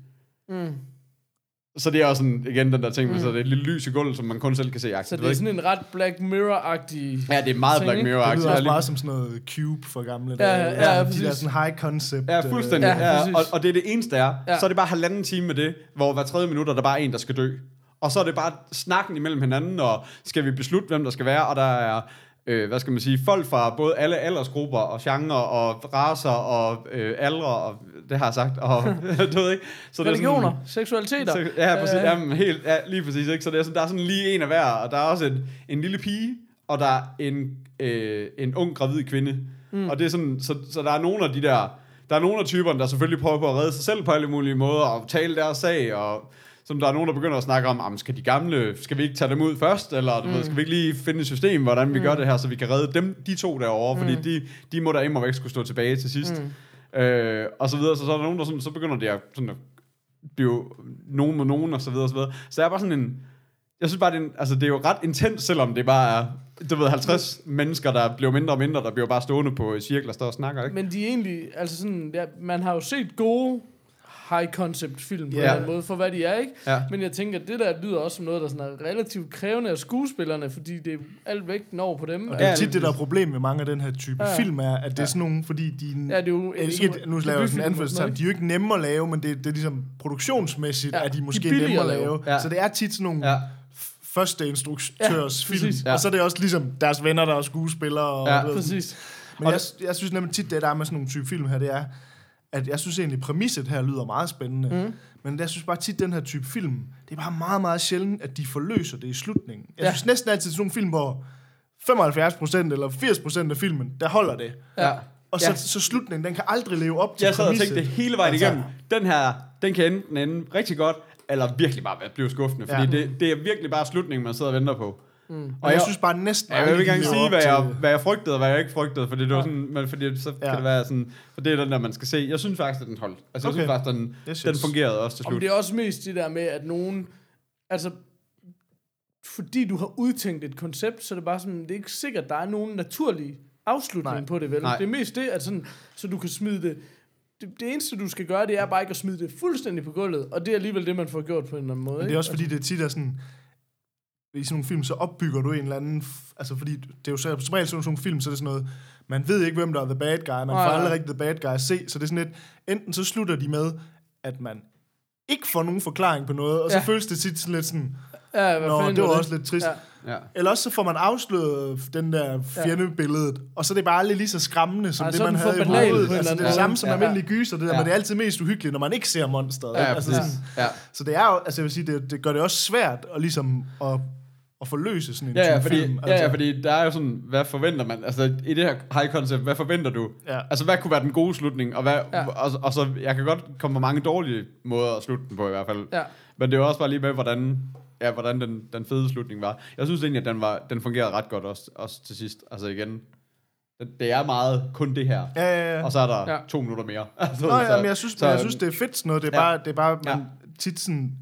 S3: så det er også sådan, igen den der ting, mm. så det er et lille lys i gulvet, som man kun selv kan se.
S5: Så det er sådan en ret Black Mirror-agtig...
S3: Ja, det er meget
S5: ting,
S3: Black
S5: ikke?
S3: Mirror-agtigt.
S4: Det
S3: Jeg har
S4: lyder også
S3: lige-
S4: meget som sådan noget Cube for gamle
S5: Ja,
S4: dage.
S5: ja,
S4: Sådan
S5: ja,
S4: de der
S5: præcis.
S4: sådan high concept.
S3: Ja, fuldstændig.
S5: Øh, ja,
S3: Ja, ja, og,
S5: præcis.
S3: og det er det eneste, der er. Ja.
S5: Ja.
S3: Så er det bare halvanden time med det, hvor hver tredje minut er der bare en, der skal dø. Og så er det bare snakken imellem hinanden, og skal vi beslutte, hvem der skal være, og der er, øh, hvad skal man sige, folk fra både alle aldersgrupper, og genre, og raser, og øh, aldre, og det har jeg sagt, og <laughs> du ved ikke. Så det er sådan-
S5: Religioner, seksualiteter.
S3: Så, ja, præcis,
S5: Øh,
S3: jamen, helt, ja, lige præcis. Ikke? Så det er sådan, der er sådan lige en af hver, og der er også en, en lille pige, og der er en, øh, en ung gravid kvinde. Mm. Og det er sådan, så, så der er nogle af de der, der er nogle af typerne, der selvfølgelig prøver på at redde sig selv på alle mulige måder, og tale deres sag, og som der er nogen, der begynder at snakke om, "Jamen, skal de gamle, skal vi ikke tage dem ud først, eller du mm. ved, skal vi ikke lige finde et system, hvordan vi mm. gør det her, så vi kan redde dem, de to derovre, fordi de, de må da imod væk skulle stå tilbage til sidst. Mm. Øh, og så videre, så, så er der nogen, der sådan, så begynder de at, sådan at blive nogen mod nogen, og så videre, og så videre. Så jeg er bare sådan en, jeg synes bare, det er, en, altså, det er jo ret intens, selvom det bare er, du ved, 50 mennesker, der bliver mindre og mindre, der bliver bare stående på cirkler, står og snakker, ikke?
S5: Men de er egentlig, altså sådan, ja, man har jo set gode high concept film på
S3: Ja.
S5: yeah. en eller anden måde, for hvad de er, ikke?
S3: Ja.
S5: Men jeg tænker, at det der lyder også som noget, der sådan er relativt krævende af skuespillerne, fordi det er alt vægten over på dem. Ja,
S4: Og det er
S3: Ja,
S4: jo
S3: lige
S4: tit det, der er problem med mange af den her type ja. film, er, at det er sådan nogle, fordi de...
S5: det er jo...
S4: er ikke, nu laver jeg sådan en anførselstegn, de er jo ikke nemme at lave, men det, det er ligesom produktionsmæssigt,
S5: Ja,
S4: ja, er de
S5: de er
S4: måske
S5: billige
S4: nemme at
S5: at
S4: lave.
S5: lave.
S3: Ja.
S4: Så det er tit sådan nogle
S3: Ja.
S4: ja. første instruktørs
S5: Ja,
S4: ja, film,
S5: præcis.
S4: ja. og så er det også ligesom deres venner, der er skuespillere. Og
S3: Ja.
S4: du ved, sådan-
S5: Præcis.
S4: Men jeg, jeg synes nemlig tit, det der er med sådan nogle type film her, det er, at jeg synes egentlig, præmisset her lyder meget spændende. Mm. Men jeg synes bare tit, den her type film, det er bare meget, meget sjældent, at de forløser det i slutningen. Jeg ja.
S5: Ja.
S4: synes næsten altid, sådan nogle film, hvor 75% eller 80% af filmen, der holder det.
S3: Ja.
S4: Og så,
S3: Ja.
S4: ja. så slutningen, den kan aldrig leve op til Altså-
S3: Jeg sad og tænkte det
S4: præmisset.
S3: hele vejen igennem. Den her, den kan enten ende rigtig godt, eller virkelig bare blive skuffende, fordi
S4: Ja.
S3: det, det er virkelig bare slutningen, man sidder og venter på. Mm.
S4: Og jeg synes bare næsten...
S3: Ja, jeg vil ikke engang
S4: aldrig,
S3: sige,
S4: de lever
S3: hvad
S4: op
S3: jeg,
S4: til-
S3: hvad jeg frygtede, og hvad jeg ikke frygtede, fordi, det var sådan, men fordi så ja.
S4: Ja.
S3: kan det være sådan, for det er den der, man skal se. Jeg synes faktisk, at den holdt. Altså, okay. jeg
S4: Okay.
S3: synes faktisk, den,
S4: Det synes-
S3: den fungerede også til
S5: Om
S3: slut.
S5: det er også mest det der med, at nogen... Altså, fordi du har udtænkt et koncept, så er det bare sådan, det er ikke sikkert, der er nogen naturlig afslutning
S4: Nej.
S5: på det, vel?
S3: Nej.
S5: Det er mest det, at sådan, så du kan smide det, det... Det eneste, du skal gøre, det er bare ikke at smide det fuldstændig på gulvet, og det er alligevel det, man får gjort på en eller anden måde,
S4: Men det er også fordi, det tit er sådan... I sådan nogle film, så opbygger du en eller anden... f- Altså, fordi det er jo så, som regel sådan nogle film, så er det sådan noget... Man ved ikke, hvem der er the bad guy. Man får
S5: Nej, nej.
S4: aldrig rigtig the bad guy at se. Så det er sådan lidt... Enten så slutter de med, at man ikke får nogen forklaring på noget, og så
S5: Ja.
S4: føles det tit sådan lidt sådan...
S5: Ja, hvad
S4: Nå,
S5: fanden
S4: det var også lidt trist.
S5: Ja.
S3: Ja.
S4: Eller også så får man afsløret den der fjendebilledet, og så er det bare aldrig lige så skræmmende, som
S5: Ej,
S4: Ej, det,
S5: så er
S4: man
S5: den
S4: havde i
S5: for banal på en
S4: hovedet.
S5: eller
S4: Altså, det
S5: anden
S4: er det
S5: måde.
S4: samme som
S3: Ja.
S4: almindelige gyser, det der,
S3: Ja.
S4: ja. men det er altid mest uhyggeligt, når man ikke ser monsteret.
S3: Ja,
S4: ikke? altså,
S3: præcis. Ja.
S4: Så det er jo, altså jeg vil sige, det, det gør det også svært at, ligesom, at, at forløse sådan en altså.
S3: Ja, ja,
S4: type
S3: fordi,
S4: film.
S3: ja, ja, fordi der er jo sådan, hvad forventer man? Altså, i det her high concept, hvad forventer du?
S4: Ja.
S3: Altså, hvad kunne være den gode slutning? Og, hvad, ja.
S5: Ja.
S3: og, og, så, jeg kan godt komme på mange dårlige måder at slutte den på, i hvert fald.
S5: Ja.
S3: Men det er jo også bare lige med, hvordan, ja, hvordan den, den fede slutning var. Jeg synes egentlig, at den, var, den fungerede ret godt også, også til sidst. Altså igen, det- det er meget kun det her.
S4: Ja, ja, ja.
S3: Og så er der ja.
S5: Ja.
S3: to minutter mere. <laughs> Altså,
S4: Nå, ja, men jeg synes, jeg synes, det er fedt sådan noget. Det er
S3: Ja.
S4: bare, det er bare man
S3: Ja.
S4: tit sådan...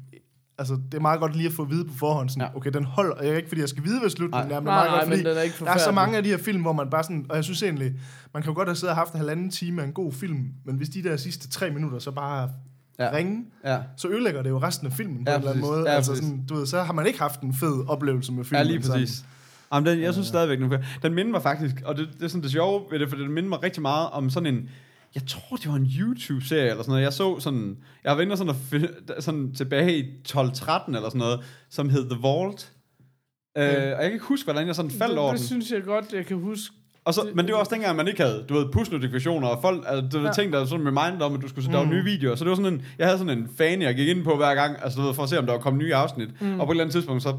S4: Altså, det er meget godt lige at få at vide på forhånd, sådan,
S3: Ja.
S4: ja. okay, den holder, og jeg er ikke, fordi jeg skal vide, hvad slutningen
S3: Nej.
S4: er, men,
S5: Nej,
S4: meget
S5: nej,
S4: godt,
S5: men
S4: fordi
S5: den er ikke
S4: der er så
S5: forfærdelig.
S4: mange af de her film, hvor man bare sådan, og jeg synes egentlig, man kan jo godt have siddet og haft en halvanden time af en god film, men hvis de der sidste tre minutter så bare
S3: Ja.
S4: ja. ringe,
S3: Ja.
S4: så ødelægger det jo resten af filmen på
S3: Ja,
S4: en eller anden
S3: præcis.
S4: måde.
S3: Ja,
S4: altså,
S3: præcis.
S4: sådan, du ved, så har man ikke haft en fed oplevelse med
S3: Ja,
S4: filmen.
S3: lige
S4: sådan.
S3: præcis. Jamen, den, jeg synes stadigvæk, den, fungerer. den minder mig faktisk, og det, det er sådan det sjove ved det, for den minder mig rigtig meget om sådan en, jeg tror, det var en YouTube-serie eller sådan noget. Jeg så sådan, jeg var inde og sådan, at finde, sådan tilbage i 12-13 eller sådan noget, som hed The Vault. Øh, og jeg kan ikke huske, hvordan jeg sådan faldt over
S5: det, det
S3: den.
S5: synes jeg godt, jeg kan huske.
S3: Og så, men det var også dengang, man ikke havde, du ved, push-notifikationer, og folk, altså, du ved, ja. Mm. ting, der sådan reminder om, at du skulle se, der var nye videoer. Så det var sådan en, jeg havde sådan en fan, jeg gik ind på hver gang, altså, du ved, for at se, om der var kommet nye afsnit. Mm. Og på et eller andet tidspunkt, så,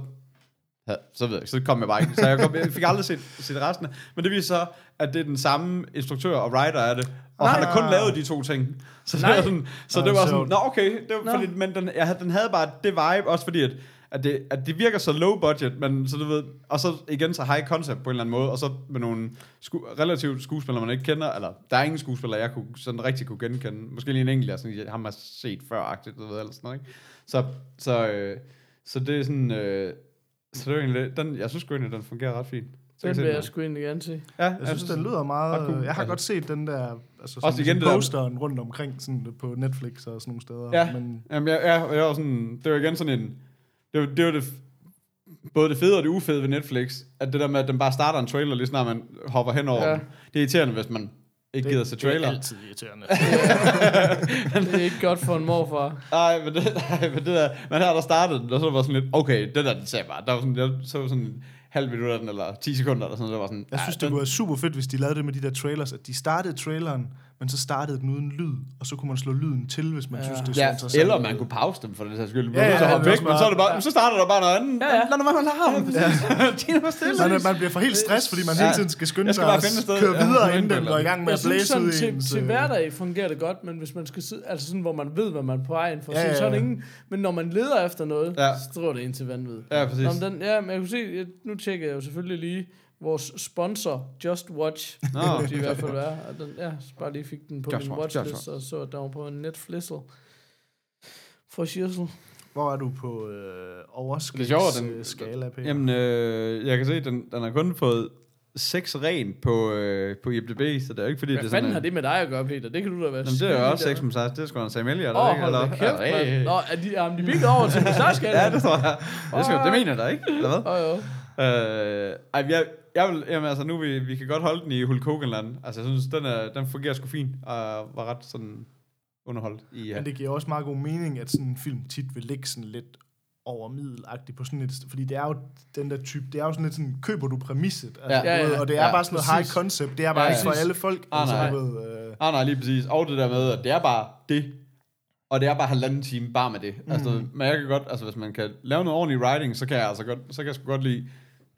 S3: ja, så ved jeg ikke, så kom jeg bare ikke. Så jeg, kom, jeg fik aldrig set, set resten af. Men det viser så, at det er den samme instruktør og writer af det. Og Nej. han har kun lavet de to ting. Så, det var, sådan, så det var sådan, nå okay, det var, fordi, men den, jeg, havde- den havde bare det vibe, også fordi, at at det, at det virker så low budget, men så du ved, og så igen så high concept på en eller anden måde, og så med nogle sku, relativt skuespillere, man ikke kender, eller der er ingen skuespillere, jeg kunne, sådan rigtig kunne genkende. Måske lige en enkelt, jeg sådan, ham har set før-agtigt, du ved, eller sådan noget, ikke? Så, så, øh, så det er sådan, øh, så det er egentlig, den, jeg synes sgu egentlig, den fungerer ret fint. Så
S5: Den
S3: se
S5: vil jeg
S3: her.
S5: sgu egentlig gerne se.
S3: Ja,
S4: Jeg synes, den lyder meget...
S3: Altså, ret cool.
S4: Jeg har
S3: Altså-
S4: godt set den der... Altså, sådan,
S3: Også igen det der-
S4: posteren rundt omkring sådan, på Netflix og sådan nogle steder.
S3: Ja,
S4: Men,
S3: Jamen, jeg, jeg, jeg var sådan, det var igen sådan en, det var, det var det, f- både det fede og det ufede ved Netflix, at det der med, at den bare starter en trailer, lige snart man hopper hen over ja.
S5: Ja.
S3: den. Det er irriterende, hvis man ikke gider se
S4: det er
S3: trailer.
S4: altid
S3: <laughs>
S4: irriterende.
S5: Det er ikke godt for en morfar.
S3: Nej, men det, ej, men det der, men her der startede den, og så var sådan lidt, okay, det der, den ser bare, der var sådan, jeg så sådan en halv minut af den, eller 10 sekunder, eller sådan, der var sådan,
S4: Jeg
S3: ej,
S4: synes, det
S3: den,
S4: kunne være super fedt, hvis de lavede det med de der trailers, at de startede traileren, men så startede den uden lyd, og så kunne man slå lyden til, hvis man ja. synes, det er så
S3: Ja,
S4: interessant.
S3: eller man kunne pause dem for det sags skyld.
S4: Ja,
S3: Ja,
S4: ja,
S3: så
S4: det
S3: hoppe
S4: er
S3: væk,
S4: også
S3: men så, er det bare, så starter der bare noget andet.
S5: Ja, ja.
S3: Lad nu være med larmen. Ja. Tina, var stille.
S4: Man, man bliver for helt stress, fordi man
S3: Ja.
S4: ja. hele tiden skal skynde
S3: Jeg skal
S4: sig
S3: bare
S4: og
S3: finde et sted,
S4: køre
S3: ja,
S4: videre,
S3: hvor
S4: inden den
S3: man
S4: går i gang med
S5: Jeg
S4: at
S5: synes
S4: blæse
S5: sådan,
S4: ud i
S5: til,
S4: ens,
S5: til
S4: øh,
S5: hverdag fungerer det godt, men hvis man skal sidde, altså sådan, hvor man ved, hvad man er på vej ind for,
S4: Ja,
S5: ja, ja,
S4: ja,
S5: så er det
S4: ja.
S5: ingen, men når man leder efter noget,
S3: Ja.
S5: ja. så driver det ind til vanvid.
S3: Ja, præcis.
S5: Nå, men den, ja, men jeg kunne se, jeg, nu tjekker jeg jo selvfølgelig lige vores sponsor, Just Watch,
S3: Nå.
S5: Nå. de i hvert fald være, og den, ja, så bare lige fik den på
S3: Just
S5: Just min
S3: Watch, Just
S5: watchlist,
S3: Watch.
S5: og så at der var på Netflixel. For shizzle.
S4: Hvor er du på øh,
S3: sjovt, den-
S4: overskridsskala, Peter?
S3: Jamen, øh, jeg kan se, at den, den har kun fået 6 ren på, øh, på IMDb, så det er jo ikke fordi, det er
S5: Hvad
S3: sådan...
S5: fanden
S3: en-
S5: har det med dig at gøre, Peter? Det kan du da være
S3: Jamen, det er jo også 6
S5: skide
S3: mod 16. Det er sgu da en Sam Elliott,
S5: Åh,
S3: er det
S5: hold da
S3: ikke?
S5: kæft,
S3: Eller- Ej,
S5: mand. Nå, er de, er de bygget over til Musashi?
S3: Ja, det tror jeg. Det, skal, det mener jeg da ikke, eller hvad?
S5: Åh, jo.
S3: Øh, ej, jeg, jeg vil, jamen, altså, nu vi, vi kan godt holde den i Hulk Hogan-land. Altså, jeg synes, den, er, den fungerer sgu fint, og var ret sådan underholdt i... øh, Ja.
S4: Men det giver også meget god mening, at sådan en film tit vil ligge sådan lidt over middelagtigt på sådan et... Fordi det er jo den der type... Det er jo sådan lidt sådan, køber du præmisset? Altså,
S5: Ja,
S4: du ved,
S5: ja, ja.
S4: og det er
S3: Ja,
S4: bare sådan noget
S5: præcis.
S4: high concept. Det er bare
S3: Ja,
S4: ja, ikke for
S5: præcis.
S4: alle folk.
S3: Ah, nej.
S4: du ved, øh,
S3: Ah, nej, lige præcis. Og det der med, at det er bare det. Og det er bare halvanden time bare med det. Mm. Altså, men jeg kan godt, altså hvis man kan lave noget ordentligt writing, så kan jeg altså godt, så kan jeg sgu godt lide,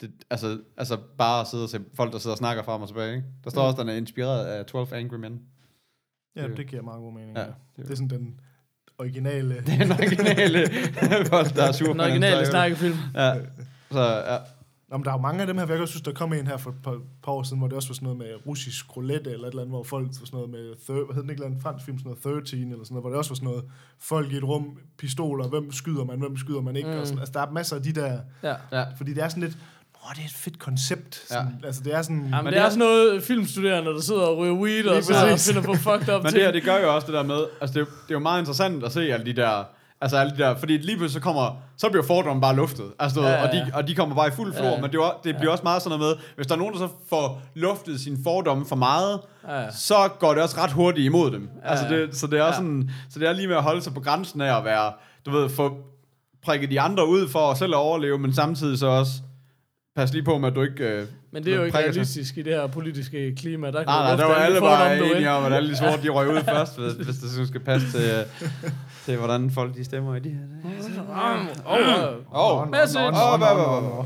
S3: det, altså, altså bare at sidde og se folk, der sidder og snakker frem og tilbage. Ikke? Der står mm. også, at den er inspireret af 12 Angry Men. <laughs>
S4: ja, det giver meget god mening.
S3: Ja,
S4: Ja,
S3: det er
S4: det er sådan den originale...
S3: <laughs> Det er den <laughs> originale folk, der er sure. på
S5: Den
S3: hinanden,
S5: originale
S3: så-
S5: snakkefilm.
S3: Ja. Så ja.
S4: Nå, men der er jo mange af dem her, for jeg kan også synes, der kom en her for et par, par år siden, hvor det også var sådan noget med russisk roulette eller et eller andet, hvor folk var sådan noget med, thir- hvad hed den ikke, eller en fransk film, sådan noget 13 eller sådan noget, hvor det også var sådan noget, folk i et rum, pistoler, hvem skyder man, hvem skyder man ikke, mm. og sådan, altså der er masser af de der,
S5: Ja.
S3: ja.
S4: fordi det er sådan lidt, åh, det er et fedt koncept, sådan, ja. altså det er sådan,
S5: Jamen,
S3: Men
S5: men
S3: det
S5: det
S3: er-
S5: er sådan noget filmstuderende, der sidder og ryger weed og sidder og
S4: præcis.
S5: finder på fucked up
S3: Men
S5: ting.
S3: det her, det gør jo også det der med, altså det, er jo- det er jo meget interessant at se alle de der, altså alle de der, fordi lige pludselig så kommer, så bliver fordommen bare luftet, altså ja,
S5: Ja, ja,
S3: ja. og, de,
S5: ja.
S3: og de kommer bare i fuld flor, ja,
S5: Ja,
S3: ja.
S5: ja.
S3: men det, er jo- det bliver også meget sådan noget med, hvis der er nogen, der så får luftet sine fordomme for meget, ja, ja. så går det også ret hurtigt imod dem. Ja, altså det, så det er ja. sådan, så det er lige med at holde sig på grænsen af at være, du ved, få prikket de andre ud for selv at overleve, men samtidig så også, pas lige på med, at du ikke... Øh,
S5: Men det er jo ikke
S3: prikker sig.
S5: realistisk i det her politiske klima. Der kan
S3: Nej,
S5: du
S3: Ah, nej,
S5: lufte
S3: der var alle
S5: fordomme,
S3: bare
S5: du vil.
S3: enige om, at alle de sorte, de røg ud først, hvis, hvis det sådan skal passe til, øh, til, hvordan folk de stemmer i de her dage.
S5: Åh, åh.
S3: Åh, oh,
S5: Message.
S3: oh,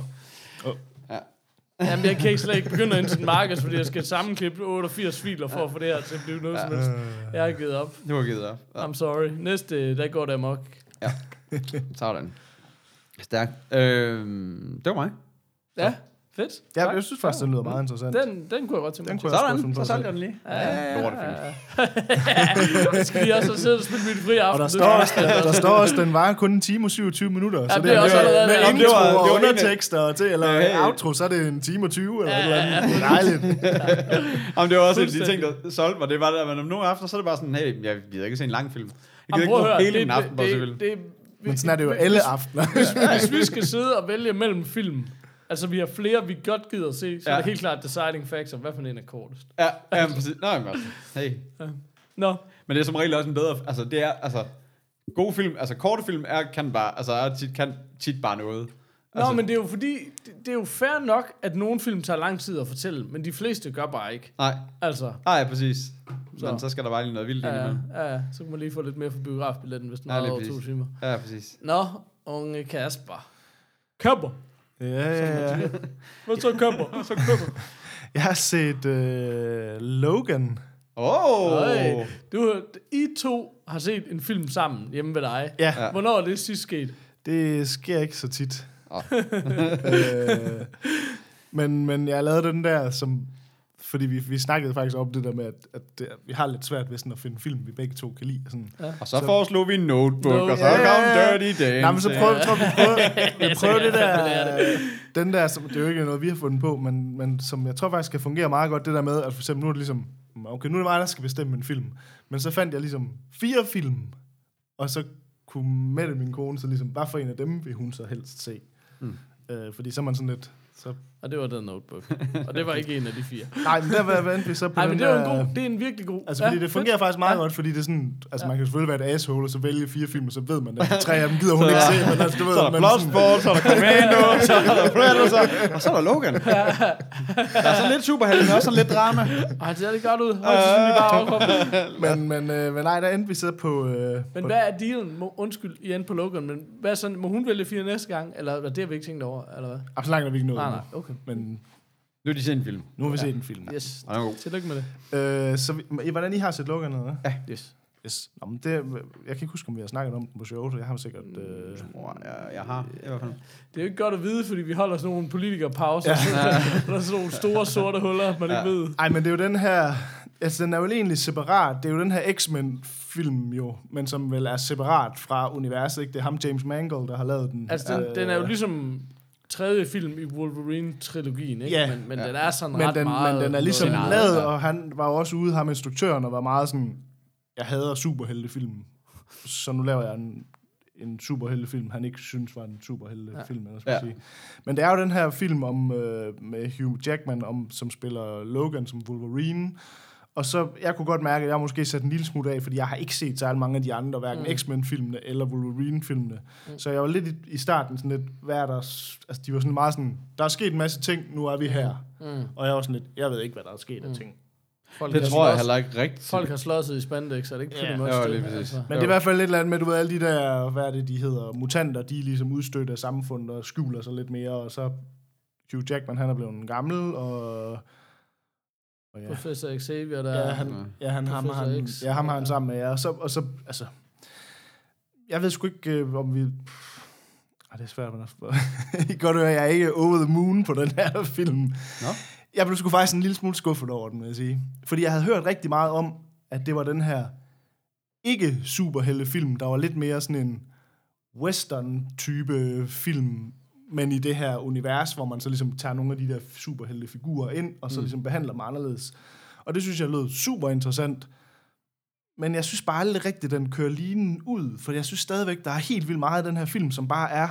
S5: Jamen, jeg kan ikke slet ikke begynde at indstille markeds, fordi jeg skal sammenklippe 88 filer for at få det her til at blive noget som helst. Jeg har givet op.
S3: det var givet op. Ja,
S5: I'm sorry. Næste, der går det amok.
S3: sådan. Stærkt. Øhm, det var mig.
S5: Ja, fedt.
S4: ja, jeg synes faktisk, det lyder meget interessant.
S5: Den, den kunne jeg godt tænke
S4: den
S5: mig.
S4: kunne jeg også
S3: Sådan,
S4: godt finde på
S3: så
S4: at
S3: solgte
S4: se.
S3: jeg den lige.
S5: Den skal vi også sidde og spille mit fri aften.
S4: Og der står, også, der, der står også, den var kun en time og 27 minutter. Ja, så
S5: det er også
S4: med-
S5: allerede-
S4: med
S5: Jamen,
S3: det
S4: intro
S3: var- det
S4: og
S3: var en af-
S4: undertekster og til, eller
S3: Ja, ja, ja.
S4: outro, så er det en time og 20 eller et eller andet. Det er dejligt.
S3: Jamen, det var også en af de ting, der solgte mig. Det var det, at man om nogle aftener, så er det bare sådan, hey, jeg gider ikke se en lang film. Jeg gider
S5: Jamen, prøv at
S3: ikke bruge
S5: høre,
S3: hele en
S5: det-
S3: aften på at se film.
S5: det, det, <laughs>
S4: Men sådan er det jo alle aftener.
S5: Hvis vi skal sidde og vælge mellem film, Altså, vi har flere, vi godt gider se, så ja.
S3: Ja.
S5: det er helt klart deciding factor. Hvad for en er kortest?
S3: Ja, ja, men præcis. Nej, men altså, hey.
S5: Nå,
S3: Men det er som regel også en bedre... Altså, det er... Altså, gode film... Altså, korte film er, kan bare... Altså, er tit, kan tit bare noget.
S5: altså, Nå men det er jo fordi, det, det er jo fair nok, at nogle film tager lang tid at fortælle, men de fleste gør bare ikke.
S3: Nej.
S5: Altså,
S3: Nej, Ah, ja, præcis. Så.
S5: Så.
S3: Men så skal der bare lige noget vildt ind
S5: ja,
S3: imellem.
S5: ja, ja, så kan man lige få lidt mere for biografbilletten, hvis den
S3: Ja,
S5: er
S3: lige
S5: over to
S3: præcis.
S5: timer.
S3: Ja, præcis.
S5: Nå, unge Kasper. Køber.
S4: Ja, ja, ja.
S5: Hvad så
S3: <laughs>
S5: køber? Så køber.
S4: Jeg har set øh, Logan.
S3: Åh!
S5: Øj, du, I to har set en film sammen hjemme ved dig.
S4: Ja,
S3: Ja.
S4: ja.
S5: Hvornår er det sidst sket?
S4: det sker ikke så tit.
S3: Åh.
S4: <laughs> øh, men, men jeg lavede den der, som fordi vi, vi snakkede faktisk om det der med, at, at det, vi har lidt svært ved sådan at finde film, vi begge to kan lide. Sådan. Ja.
S3: Og så, foreslog vi en notebook,
S5: Note-
S3: og så
S4: Ja,
S3: kom
S4: ja, ja.
S3: Dirty Dancing.
S4: Nej, men så prøv, tror, vi
S5: <laughs>
S4: prøver, vi prøver det
S5: øh. jeg
S4: der, den der, som, det er jo ikke noget, vi har fundet på, men, men som jeg tror faktisk kan fungere meget godt, det der med, at for eksempel nu er det ligesom, okay, nu er det mig, der skal bestemme en film, men så fandt jeg ligesom fire film, og så kunne Mette, min kone, så ligesom, hvad for en af dem vil hun så helst se?
S3: Hmm.
S4: Mm. Øh, fordi så er man sådan lidt, så,
S5: Og det var The Notebook. Og det var ikke en af de fire.
S4: nej, men der var- vandt vi så på
S5: <laughs> Nej, men
S4: den
S5: det var en
S4: der-
S5: god, det er en virkelig god.
S4: Altså, fordi det fungerer
S5: fedt.
S4: faktisk meget
S5: Ja.
S4: ja. godt, fordi det er sådan... Altså, ja. man kan selvfølgelig være et asshole, og så vælge fire film, og så ved man, at de tre af dem gider
S3: <laughs>
S4: hun ikke se, men altså, du ved...
S3: Så er der
S4: men
S3: Bloodsport, så er der Commando, <laughs> så er der Predator, og så er der Logan. Der er sådan lidt superhelte, men også sådan lidt drama.
S5: <laughs> Ej, det ser det godt ud. Højst sandsynligt bare overkommet.
S4: Men, men, øh, men nej, der endte vi så på... Øh,
S5: <laughs> Men
S4: på
S5: hvad er dealen? Må, undskyld, I er inde på Logan, men hvad er sådan, må hun vælge fire næste gang? Eller hvad, det har vi ikke tænkt over, eller hvad?
S4: Ah, så langt er vi ikke nået
S5: Nej,
S4: endnu.
S5: nej, okay.
S4: Men
S3: Nu er de set en film.
S4: nu har vi ja. set en film.
S5: Yes.
S3: Og den er god.
S5: Tillykke med det.
S4: Øh, så vi, men, hvordan I har set Logan eller hvad? Ja.
S5: Yes.
S4: Yes. Nå, men det, jeg kan ikke huske, om vi har snakket om den på showet, så jeg har sikkert... Øh,
S5: Mm.
S3: Åh, Jeg, jeg har i hvert fald.
S5: Det er jo ikke godt at vide, fordi vi holder sådan nogle politikerpauser. Ja. <laughs> der er sådan nogle store sorte huller, man ja. ikke ved.
S4: ej, men det er jo den her... Altså, den er jo egentlig separat. Det er jo den her X-Men-film jo, men som vel er separat fra universet, ikke? Det er ham, James Mangold, der har lavet den. Øh,
S5: Altså, den, den er jo ligesom tredje film i Wolverine-trilogien, ikke?
S4: Ja.
S5: men men den er sådan
S4: men
S5: ret
S4: den,
S5: meget...
S4: men den er ligesom
S5: noget-
S4: lavet, og han var jo også ude, ham instruktøren, og var meget sådan, jeg hader superheltefilm, så nu laver jeg en, en superheltefilm, han ikke synes var en superheltefilm, ja. skal
S3: Ja.
S4: ja. sige. Men det er jo den her film om, øh, med Hugh Jackman, om, som spiller Logan som Wolverine, og så, jeg kunne godt mærke, at jeg måske sat en lille smule af, fordi jeg har ikke set særlig mange af de andre, hverken mm. X-Men-filmene eller Wolverine-filmene. Mm. Så jeg var lidt i, i starten sådan lidt, hvad er der... s- Altså, de var sådan meget sådan, der er sket en masse ting, nu er vi her. Mm. Og jeg var sådan lidt, jeg ved ikke, hvad der er sket af ting.
S5: Folk
S3: Det
S5: har
S3: tror jeg
S5: slås-
S3: heller ikke rigtigt.
S5: Folk har slåsset i spandex, er det ikke pretty
S4: Ja.
S5: much
S3: Jo,
S5: det?
S3: lige præcis.
S5: Altså.
S4: Men det er i hvert fald lidt andet med, du ved, alle de der, hvad er det, de hedder, mutanter, de er ligesom udstødt af samfundet og skjuler sig lidt mere, og så Hugh Jackman, han er blevet en gammel, og... og ja.
S5: Professor Xavier, der...
S4: Ja, han, ja, han, ham,
S5: Professor
S4: han,
S5: X.
S4: ja, ham har han sammen med jer. Og så, og så altså, jeg ved sgu ikke, øh, om vi... Ej, det er svært, man er... <laughs> I kan godt høre, jeg er ikke over the moon på den her film. Nå? Jeg blev sgu faktisk en lille smule skuffet over den, vil jeg sige. Fordi jeg havde hørt rigtig meget om, at det var den her ikke superhelte film, der var lidt mere sådan en western-type film, men i det her univers, hvor man så ligesom tager nogle af de der superhelte figurer ind, og så mm. ligesom behandler dem anderledes. Og det synes jeg lød super interessant. Men jeg synes bare aldrig rigtigt, den kører linen ud, for jeg synes stadigvæk, der er helt vildt meget af den her film, som bare er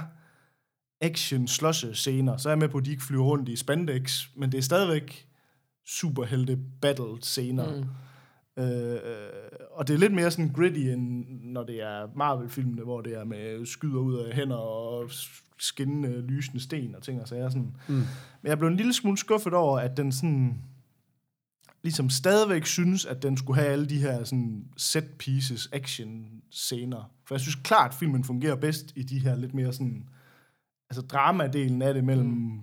S4: action slåsse scener. Så er jeg med på, at de ikke flyver rundt i spandex, men det er stadigvæk superhelte battle scener. Mm. Øh, og det er lidt mere sådan gritty, end når det er Marvel-filmene, hvor det er med skyder ud af hænder og skinnende lysende sten og ting og sager. Sådan. Mm. Men jeg blev en lille smule skuffet over, at den sådan ligesom stadigvæk synes, at den skulle have alle de her sådan, set pieces, action scener. For jeg synes klart, at filmen fungerer bedst i de her lidt mere sådan, altså dramadelen af det mellem mm.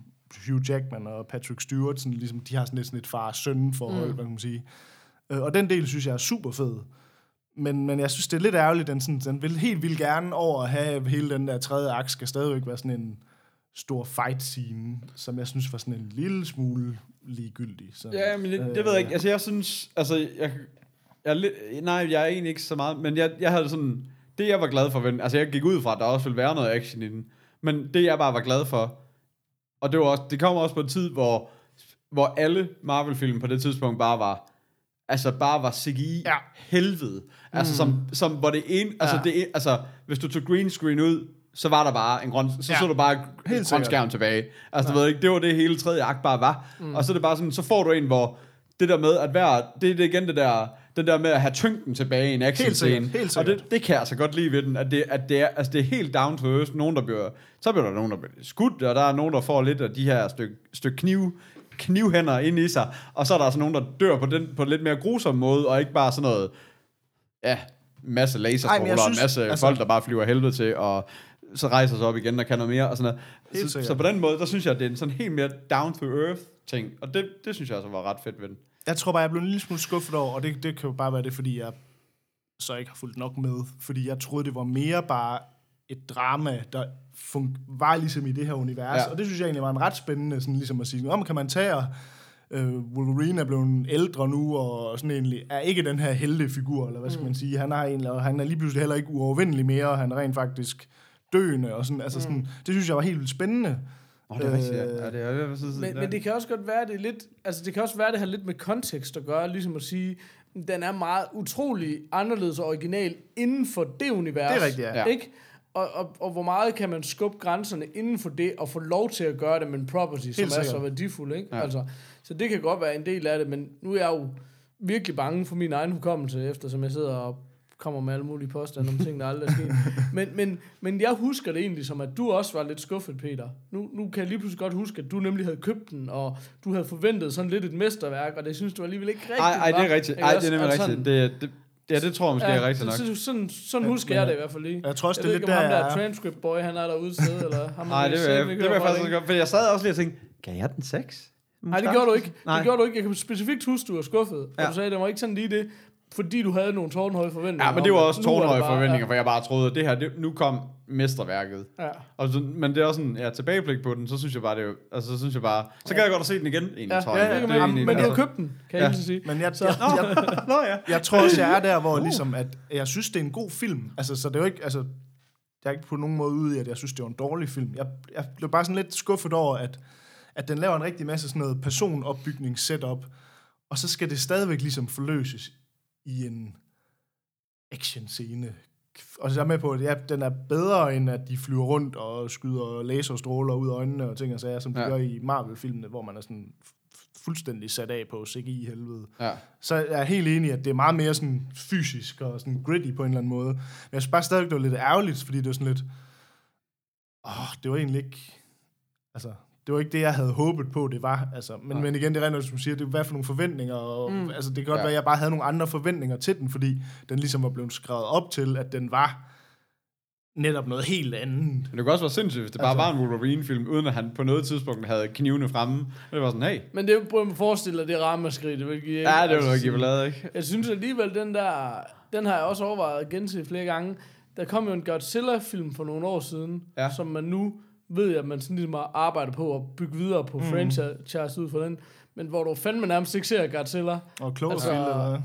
S4: Hugh Jackman og Patrick Stewart, sådan, ligesom, de har sådan lidt sådan et far-søn forhold, mm. hvad kan man sige. Øh, Og den del synes jeg er super fed. Men, men jeg synes, det er lidt ærgerligt, den, sådan, den vil helt vildt gerne over at have hele den der tredje aks, skal stadigvæk være sådan en stor fight scene, som jeg synes var sådan en lille smule ligegyldig. Så,
S3: Ja, men det, det ved jeg ikke. Altså, jeg synes... Altså, jeg, jeg er lidt, nej, jeg er egentlig ikke så meget... Men jeg, jeg havde sådan... Det, jeg var glad for... ved den- Altså, jeg gik ud fra, at der også ville være noget action i den. Men det, jeg bare var glad for... Og det, var også, det kom også på en tid, hvor, hvor alle Marvel-film på det tidspunkt bare var... Altså, bare var CGI
S4: Mm.
S3: ja. helvede. Altså, som, som, hvor det ene... Altså, ja. det, ene- altså, hvis du tog green screen ud, så var der bare en grøn, så ja. så du bare helt grøn
S4: sikkert.
S3: skærm tilbage. Altså, du ved ikke, det var det hele tredje akt bare var. Mm. Og så er det bare sådan, så får du en, hvor det der med at være, det, det er igen det der, den der med at have tyngden tilbage i en action scene.
S4: sikkert, helt
S3: og det,
S4: sikkert.
S3: det kan jeg altså godt lide ved den, at det, at det, er, altså det er helt down to earth. Nogen, der bliver, så bliver der nogen, der bliver skudt, og der er nogen, der får lidt af de her stykke styk kniv, knivhænder ind i sig, og så er der altså nogen, der dør på, den, på en lidt mere grusom måde, og ikke bare sådan noget, ja, masse
S4: Ej, men jeg
S3: laserstråler, og en masse
S4: synes-
S3: altså,
S4: altså-
S3: folk, der bare flyver af helvede til, og så rejser sig op igen og kan noget mere, og sådan noget.
S4: Helt
S3: Så,
S4: sikkert.
S3: så på den måde, der synes jeg, at det er en sådan helt mere down-to-earth ting, og det, det synes jeg altså var ret fedt ved den.
S4: Jeg tror bare, jeg blev en lille smule skuffet over, og det, det kan jo bare være det, fordi jeg så ikke har fulgt nok med. Fordi jeg troede, det var mere bare et drama, der fun- var ligesom i det her univers.
S3: Ja.
S4: Ja. Og det synes jeg egentlig var en ret spændende, sådan ligesom at sige, om kan man tage og øh, Wolverine er blevet ældre nu, og sådan egentlig er ikke den her heldige figur, eller hvad
S5: Mm.
S4: skal man sige. Han er, egentlig, og han er lige pludselig heller ikke uovervindelig mere, og han er rent faktisk døende. Og sådan, altså
S5: Mm.
S4: sådan, det synes jeg var helt vildt spændende.
S3: Åh, det er rigtigt,
S4: Øh,
S3: ja. ja. det er, jeg, jeg synes,
S5: Men, men det kan også godt være, det er lidt, altså det kan også være, det har lidt med kontekst at gøre, ligesom at sige, den er meget utrolig anderledes og original inden for det univers.
S4: Det er rigtigt, ja.
S3: Ja.
S5: Ikke? Og, og, og hvor meget kan man skubbe grænserne inden for det, og få lov til at gøre det med en property, som
S4: Helt
S5: er så
S4: sikkert.
S5: værdifuld. Ikke? Ja. Altså, så det kan godt være en del af det, men nu er jeg jo virkelig bange for min egen hukommelse, eftersom jeg sidder og kommer med alle mulige påstande om ting, der aldrig er
S3: <laughs>
S5: sket. Men, men, men jeg husker det egentlig som, at du også var lidt skuffet, Peter. Nu, nu kan jeg lige pludselig godt huske, at du nemlig havde købt den, og du havde forventet sådan lidt et mesterværk, og det synes du alligevel ikke rigtigt
S3: Ej, ej, det
S5: var.
S3: er rigtigt.
S5: Ikke
S3: Ej, det
S5: også?
S3: er nemlig
S5: Altså
S3: rigtigt. Det, det, ja, det tror jeg måske
S5: sådan-
S3: er rigtigt nok.
S5: så- så- Sådan, sådan husker
S4: men-
S5: jeg det i hvert fald lige.
S4: Jeg tror også,
S5: Jeg
S4: det
S5: ved
S4: er
S5: ikke,
S4: lidt
S5: om ham
S4: der,
S5: der
S4: jeg er.
S5: transcript boy, han er derude et sted, eller ham
S3: Nej, det vil jeg, det vil jeg faktisk også godt, for jeg sad også lige og tænkte, gav jeg den 6?
S5: Nej, det gjorde du ikke. Nej.
S3: Nej.
S5: Det gjorde du ikke. Jeg kan specifikt huske, du var skuffet. Ja.
S3: Ja.
S5: Og du sagde, det var ikke sådan lige det, fordi du havde nogle tårnhøje forventninger.
S3: Ja, men det var
S5: om
S3: også
S5: Nu er det
S3: tårnhøje
S5: bare-
S3: forventninger, for jeg bare troede, at det her, det, nu kom mesterværket.
S5: Ja.
S3: Og så, men det er også sådan, ja, tilbageblik på den, så synes jeg bare, det er jo, altså, så synes jeg bare, så kan jeg godt at se den igen. Egentlig,
S5: Ja,
S3: tror
S5: ja,
S3: jeg.
S5: ja,
S3: Det
S5: ja,
S3: er
S5: men,
S3: egentlig-
S5: men du har
S3: altså-
S5: købt den, kan jeg lige sige.
S4: Men jeg, jeg, jeg,
S3: Nå ja.
S4: jeg tror også, jeg er der,
S3: Uh.
S4: hvor ligesom, at jeg synes, det er en god film. Altså, så det er jo ikke, altså, jeg er ikke på nogen måde ude i, at jeg synes, det er en dårlig film. Jeg, jeg blev bare sådan lidt skuffet over, at, at den laver en rigtig masse sådan noget personopbygning setup, og så skal det stadigvæk ligesom forløses i en action scene. Og så er jeg med på, at ja, den er bedre, end at de flyver rundt og skyder laserstråler ud af øjnene og ting og sager, som de
S3: Ja.
S4: ja. gør i Marvel-filmene, hvor man er sådan fu- fuldstændig sat af på CGI-helvede.
S3: Ja.
S4: Så jeg er helt enig i, at det er meget mere sådan fysisk og sådan gritty på en eller anden måde. Men jeg synes bare stadigvæk, det var lidt ærgerligt, fordi det var sådan lidt... Åh, det var egentlig ikke... Altså, det var ikke det, jeg havde håbet på, det var. Altså, men, men igen, det er rent, nok, som du siger, det er hvad for nogle forventninger. Og, mm. Altså, det kan godt
S3: Ja.
S4: ja. være, at jeg bare havde nogle andre forventninger til den, fordi den ligesom var blevet skrevet op til, at den var netop noget helt andet.
S3: Men det kunne også være sindssygt, hvis det bare altså, var en Wolverine-film, uden at han på noget tidspunkt havde knivene fremme. Og det var sådan, hey,
S5: Men det prøver man forestille dig, det ramaskrig, det vil give. ikke?
S3: ja, det var
S5: Altså,
S3: noget gibelade, ikke?
S5: Jeg synes alligevel, den der, den har jeg også overvejet at gense flere gange. Der kom jo en Godzilla-film for nogle år siden,
S3: Ja.
S5: som man nu ved, jeg, at man sådan ligesom har arbejdet på at bygge videre på mm. franchise ud for den. Men hvor du fandme nærmest ikke ser Godzilla.
S4: Og Cloverfield,
S5: Altså-
S4: altså, eller hvad?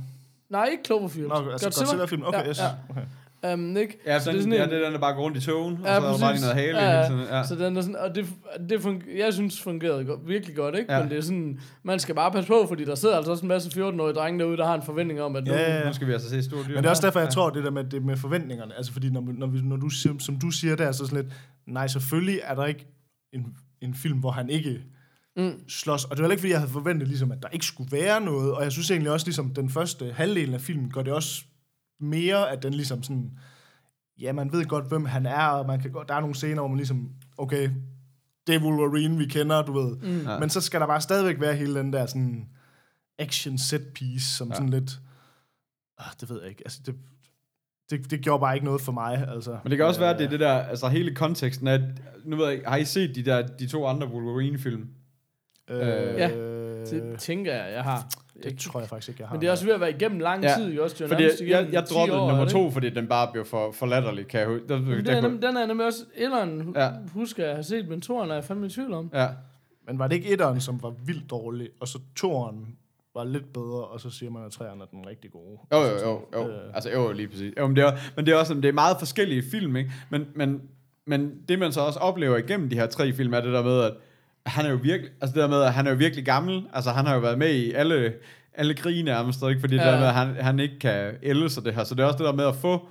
S5: Nej, ikke Cloverfield.
S4: Nå, altså Godzilla-film. Okay,
S5: ja,
S4: yes.
S5: Ja.
S4: Okay.
S5: Um, ikke?
S3: Ja,
S5: Så
S3: sådan,
S5: det er
S3: det
S5: sådan
S3: ja,
S5: en-
S3: det er den, der bare går rundt i togen, og
S5: Ja,
S3: så er der bare lige noget hale.
S5: Ja,
S3: hele tiden.
S5: ja. Så den er sådan, og det, det funger, jeg synes fungerede go- virkelig godt, ikke?
S3: Ja.
S5: Men det er sådan, man skal bare passe på, fordi der sidder altså også en masse 14-årige drenge derude, der har en forventning om, at nu,
S4: Ja,
S3: ja.
S4: ja.
S3: Nu skal vi altså se stort dyr.
S4: Men det er også derfor, jeg tror, det der med, det med forventningerne. Altså, fordi når, når, vi, når du, siger, som du siger der, så er sådan lidt, nej, selvfølgelig er der ikke en, en film, hvor han ikke mm. slås. Og det var heller ikke, fordi jeg havde forventet, ligesom, at der ikke skulle være noget. Og jeg synes egentlig også, ligesom den første halvdel af filmen, gør det også mere, at den ligesom sådan, ja, man ved godt, hvem han er, og man kan, godt- der er nogle scener, hvor man ligesom, okay, det er Wolverine, vi kender, du ved. Mm.
S3: Ja.
S4: Men så skal der bare stadigvæk være hele den der sådan action set piece, som ja. sådan lidt, ah, det ved jeg ikke, altså det, det, det gjorde bare ikke noget for mig, altså.
S3: Men det kan også være, at det er det der, altså hele konteksten af, at- nu ved jeg, ikke, har I set de der, de to andre Wolverine-film?
S4: Øh,
S5: Ja.
S4: det,
S5: det tænker jeg, jeg har.
S4: det tror jeg faktisk ikke, jeg har.
S5: Men det er også ved at være igennem lang
S3: Ja,
S5: ja. tid, jo også. Det er jo
S3: Fordi jeg,
S5: nærmest
S3: jeg,
S5: igennem
S3: jeg
S5: 10
S3: droppede
S5: år,
S3: nummer
S5: er det
S3: to, fordi den bare blev for, for latterlig, kan jeg huske. Der,
S5: ikke?
S3: der, der,
S5: Den er,
S3: der,
S5: nem- den er nemlig også, etteren
S3: Ja.
S5: ja. husker jeg har set, men toeren er jeg fandme i tvivl om.
S3: ja.
S4: Men var det ikke etteren, som var vildt dårlig, og så toeren var lidt bedre, og så siger man, at træerne er den rigtig gode?
S3: Jo, jo, jo. jo. Øh. Altså, jo, lige præcis. Jo, men, det er, men det er også sådan, det er meget forskellige film, ikke? Men, men, men det, man så også oplever igennem de her tre film, er det der med, at han er jo virkelig, altså det der med, at han er jo virkelig gammel. Altså, han har jo været med i alle, alle krige nærmest, ikke? Fordi ja. det
S5: Ja.
S3: der med, at han, han ikke kan ælde sig det her. Så det er også det der med at få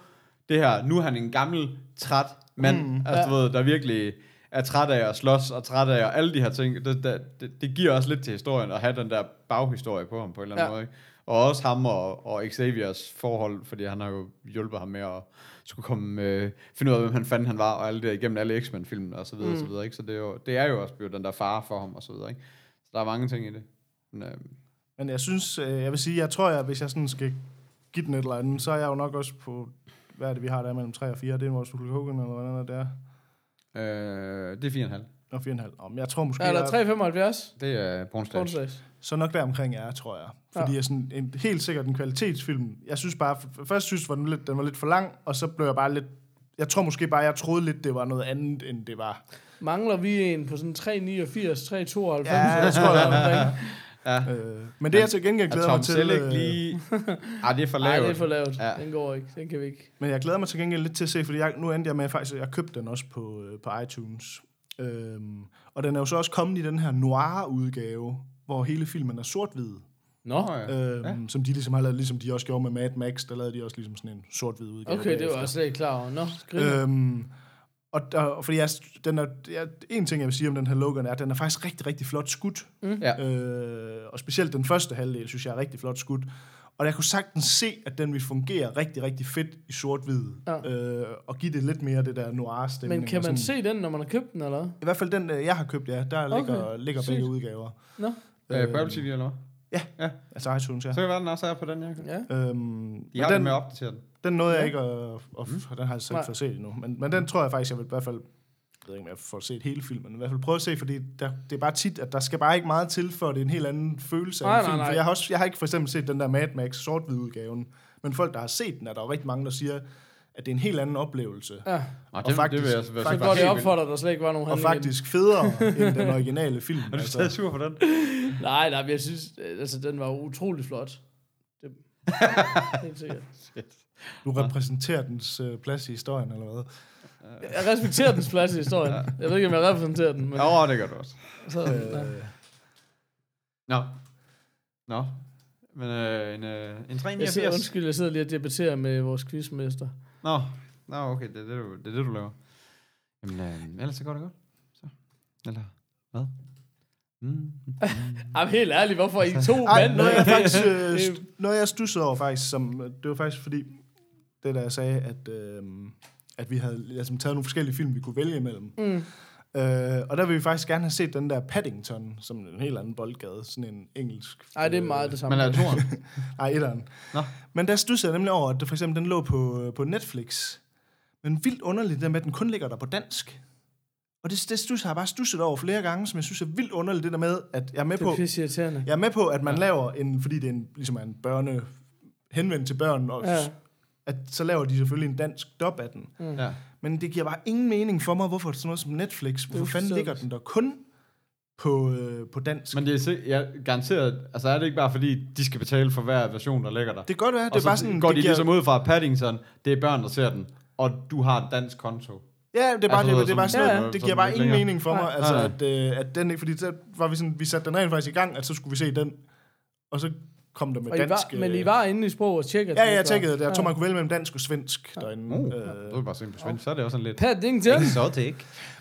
S3: det her, nu er han en gammel, træt mand, mm, altså ja. du ved, der virkelig er træt af at slås og træt af og alle de her ting. Det, det, det, det giver også lidt til historien at have den der baghistorie på ham på en eller anden
S5: Ja.
S3: ja. måde. Ikke? Og også ham og, og Xaviers forhold, fordi han har jo hjulpet ham med at skulle komme, øh, finde ud af, hvem han fanden han var, og alt det igennem alle X-Men-filmen og så videre, mm. og så videre, ikke? Så det er, jo, det er jo også blevet den der far for ham og så videre, ikke? Så der er mange ting i det. Men, øh,
S4: Men jeg synes, øh, jeg vil sige, jeg tror, jeg, hvis jeg sådan skal give den et eller andet, så er jeg jo nok også på, hvad er det, vi har der mellem 3 og 4? Det er vores Hulk Hogan, eller hvad andet det er.
S3: øh, det er 4,5.
S4: Og 4,5. Om jeg tror måske,
S5: Er der
S4: jeg-
S5: 3,75?
S3: Det er Pornstags.
S5: Onsdags.
S4: så nok der omkring er, tror jeg. Fordi
S5: Ja.
S4: ja. jeg sådan, en, helt sikkert en kvalitetsfilm. Jeg synes bare, f- først synes jeg, den, lidt- den var lidt for lang, og så blev jeg bare lidt... Jeg tror måske bare, jeg troede lidt, det var noget andet, end det var.
S5: Mangler vi en på sådan 3,89, 3,92?
S4: Ja, jeg tror, jeg <laughs>
S3: Ja.
S4: Øh, men det, jeg til gengæld
S3: Er
S4: glæder
S3: Tom
S4: mig til...
S3: Selleck
S4: øh, <laughs>
S3: lige... Ej, det er for
S5: Nej,
S3: lavt.
S5: det er for lavt.
S3: Ja.
S5: Ja. Den går ikke. Den kan vi ikke.
S4: Men jeg glæder mig til gengæld lidt til at se, fordi jeg, nu endte jeg med faktisk, at jeg købte den også på, øh, på iTunes. Øhm, og den er jo så også kommet i den her noir-udgave, hvor hele filmen er sort-hvid.
S5: Nå,
S4: Øhm, ja. Som de ligesom har lavet, ligesom de også gjorde med Mad Max, der lavede de også ligesom sådan en sort-hvid udgave.
S5: okay, det var
S4: bagefter.
S5: også lidt klar over. Nå, skriv.
S4: Øhm, og, og fordi jeg, den er, jeg, en ting, jeg vil sige om den her Logan, er, at den er faktisk rigtig, rigtig flot skudt. Mm.
S3: Ja.
S4: Øh, og specielt den første halvdel, synes jeg er rigtig flot skudt. Og jeg kunne sagtens se, at den ville fungere rigtig, rigtig fedt i sort-hvid.
S5: Ja.
S4: Øh, og give det lidt mere det der noir-stemning.
S5: Men kan
S4: og
S5: man
S4: sådan.
S5: se den, når man har købt den, eller hvad?
S4: I hvert fald den, øh, jeg har købt, ja. Der okay. ligger, ligger begge
S5: sygt.
S4: udgaver.
S5: Nå,
S3: Øh, på Apple TV, eller hvad?
S4: Altså iTunes, ja.
S3: Så kan det være, den også er på den, jeg
S5: ja.
S4: Øhm,
S3: De
S4: men
S3: har den,
S4: den,
S3: med at opdatere den.
S4: den nåede jeg ikke at... Og, mm. Den har jeg selv
S5: Nej.
S4: ikke fået set endnu. Men, men den tror jeg faktisk, jeg vil i hvert fald... Jeg ved ikke, om jeg får set hele filmen, men i hvert fald prøve at se, fordi der, det er bare tit, at der skal bare ikke meget til, for det er en helt anden følelse af
S5: Nej,
S4: en
S5: nej,
S4: film.
S5: nej.
S4: For jeg har, også, jeg har ikke for eksempel set den der Mad Max sort udgaven, men folk, der har set den, er der jo rigtig mange, der siger, at det er en helt anden oplevelse.
S5: Ja.
S3: Nå, det,
S4: Og faktisk-
S3: det vil jeg så være
S4: faktisk-
S5: Så går det
S3: helt
S5: op for dig, at der slet ikke var nogen
S4: Og
S5: handling i den.
S4: faktisk federe end
S5: <laughs>
S4: den originale film. Altså,
S3: vildt. Er du stadig sur for den?
S5: Nej, nej, men jeg synes, øh, altså, den var utrolig flot. Det, <laughs> helt sikkert.
S4: du repræsenterer dens øh, plads i historien, eller hvad?
S5: Jeg respekterer dens plads i historien. Jeg ved ikke, om jeg repræsenterer den, men...
S3: Ja, åh, det gør du også.
S5: Så, ja.
S4: Øh,
S3: Nå. Nå. Men øh, en, øh, en
S5: Jeg sidder,
S3: 389.
S5: undskyld, jeg sidder lige og debatterer med vores quizmester.
S3: Nå. Nå, okay, det er det, du, det, er det, du laver. Jamen, øh, ellers så går det godt. Så. Eller hvad? Mm.
S5: Jamen helt ærligt, hvorfor er I to
S4: Ej,
S5: mand?
S4: noget jeg faktisk
S5: <laughs>
S4: øh,
S5: det-
S4: st- noget jeg stussede over faktisk, som, øh, det var faktisk fordi, det der jeg sagde, at, øh, at vi havde altså, taget nogle forskellige film, vi kunne vælge imellem. Mm. Øh, og der ville vi faktisk gerne have set den der Paddington, som er en helt anden boldgade, sådan en engelsk. øh,
S5: Nej, det er meget det samme.
S3: Men øh, er
S5: <laughs>
S3: det toren?
S4: Nej, etteren.
S3: Nå.
S4: Men der stussede jeg nemlig over, at det for eksempel den lå på, på Netflix. Men vildt underligt, det med, at den kun ligger der på dansk. Og det, det stusser, har jeg bare stusset over flere gange, som jeg synes er vildt underligt, det der med, at jeg er med
S5: det
S4: på...
S5: er pisse irriterende.
S4: Jeg er med på, at man ja. laver en, fordi det er en, ligesom er en børne, henvendt til børn, og
S5: Ja.
S4: ja. at, så laver de selvfølgelig en dansk dub af den. Mm.
S3: Ja.
S4: Men det giver bare ingen mening for mig, hvorfor sådan noget som Netflix, hvorfor fanden
S5: uforståeligt.
S4: ligger den der kun på, øh, på dansk? Men,
S3: Men det er se- ja, garanteret, altså er det ikke bare fordi, de skal betale for hver version, der ligger der?
S4: det kan godt være, det
S3: og
S4: er
S3: så
S4: bare sådan...
S3: går de
S4: det giver,
S3: ligesom ud fra at Paddington, det er børn, der ser den, og du har et dansk konto.
S4: Ja, det er bare,
S3: Altså,
S4: det,
S3: du
S4: det, er
S3: ved,
S4: bare
S3: som-
S4: sådan,
S3: ja,
S4: noget,
S3: ja.
S4: det
S3: som
S4: giver bare
S3: lidt
S4: ingen
S3: længere.
S4: mening for mig, altså,
S3: Nej,
S4: at, øh, at den ikke, fordi så var vi sådan, vi satte den rent faktisk i gang, at så skulle vi se den, og så kom der med
S5: Og I
S4: dansk...
S5: var, men
S4: øh,
S5: I var inde i sprog og tjekkede.
S4: Ja, ja, jeg tjekkede det. Jeg tror, man kunne vælge mellem dansk og svensk derinde.
S3: Uh,
S4: Øh,
S3: øh, det var bare sådan på svensk, så er det også sådan lidt...
S5: Paddington.
S3: Exotic.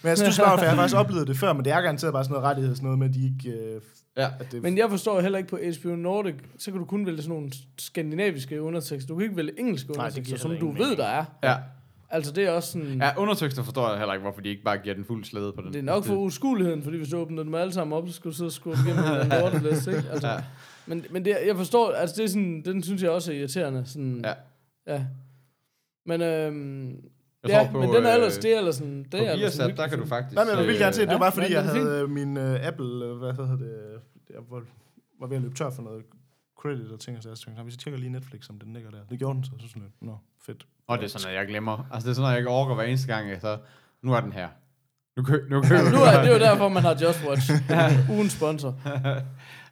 S4: Men jeg synes bare, for jeg har faktisk oplevet det før, men det er garanteret bare sådan noget rettigheds, noget med, at de ikke... Øh,
S3: Ja.
S4: at det,
S5: Men jeg forstår heller ikke på HBO Nordic, så kan du kun vælge sådan nogle skandinaviske undertekster. Du kan ikke vælge engelske
S4: det
S5: undertekster,
S4: giver
S5: som
S4: heller
S5: du
S4: ingen
S5: ved, der er.
S3: Ja.
S5: Altså, det er også sådan...
S3: ja, undertekster forstår jeg heller ikke, hvorfor de ikke bare giver den fuld slæde på den.
S5: Det er nok for uskueligheden, fordi hvis du åbner dem alle sammen op, så skulle du sidde og skubbe igennem en lortelist, ikke? Altså, ja.
S3: Ja.
S5: Men, men det, jeg forstår, altså det er sådan, den synes jeg også er irriterende. Sådan,
S3: Ja.
S5: ja. Men, øhm,
S3: Jeg
S5: ja,
S3: tror på,
S5: men den er ellers,
S3: øh,
S5: det er ellers sådan, det
S3: På
S5: er altså ellers
S3: Viasat,
S5: sådan,
S3: der kan du faktisk... øh,
S4: nej, men jeg vil virkelig gerne se det. Det var bare, fordi
S5: Ja,
S4: jeg
S5: men det er
S4: havde øh, min øh, Apple... Øh, hvad hedder det? Jeg var, var ved at løbe tør for noget credit og ting, og så jeg tænkte, "Nå, hvis jeg tjekker lige Netflix, om den ligger der. Det gjorde den, så jeg synes jeg, nå, fedt.
S3: Og det er sådan noget, jeg glemmer. Altså, det er sådan noget, jeg ikke overgår hver eneste gang, jeg så... Nu er den her. Nu kø,
S5: <laughs>
S3: nu kø,
S5: Altså, nu er det er jo derfor, man har Just
S3: <laughs>
S5: Watch. Ugen sponsor.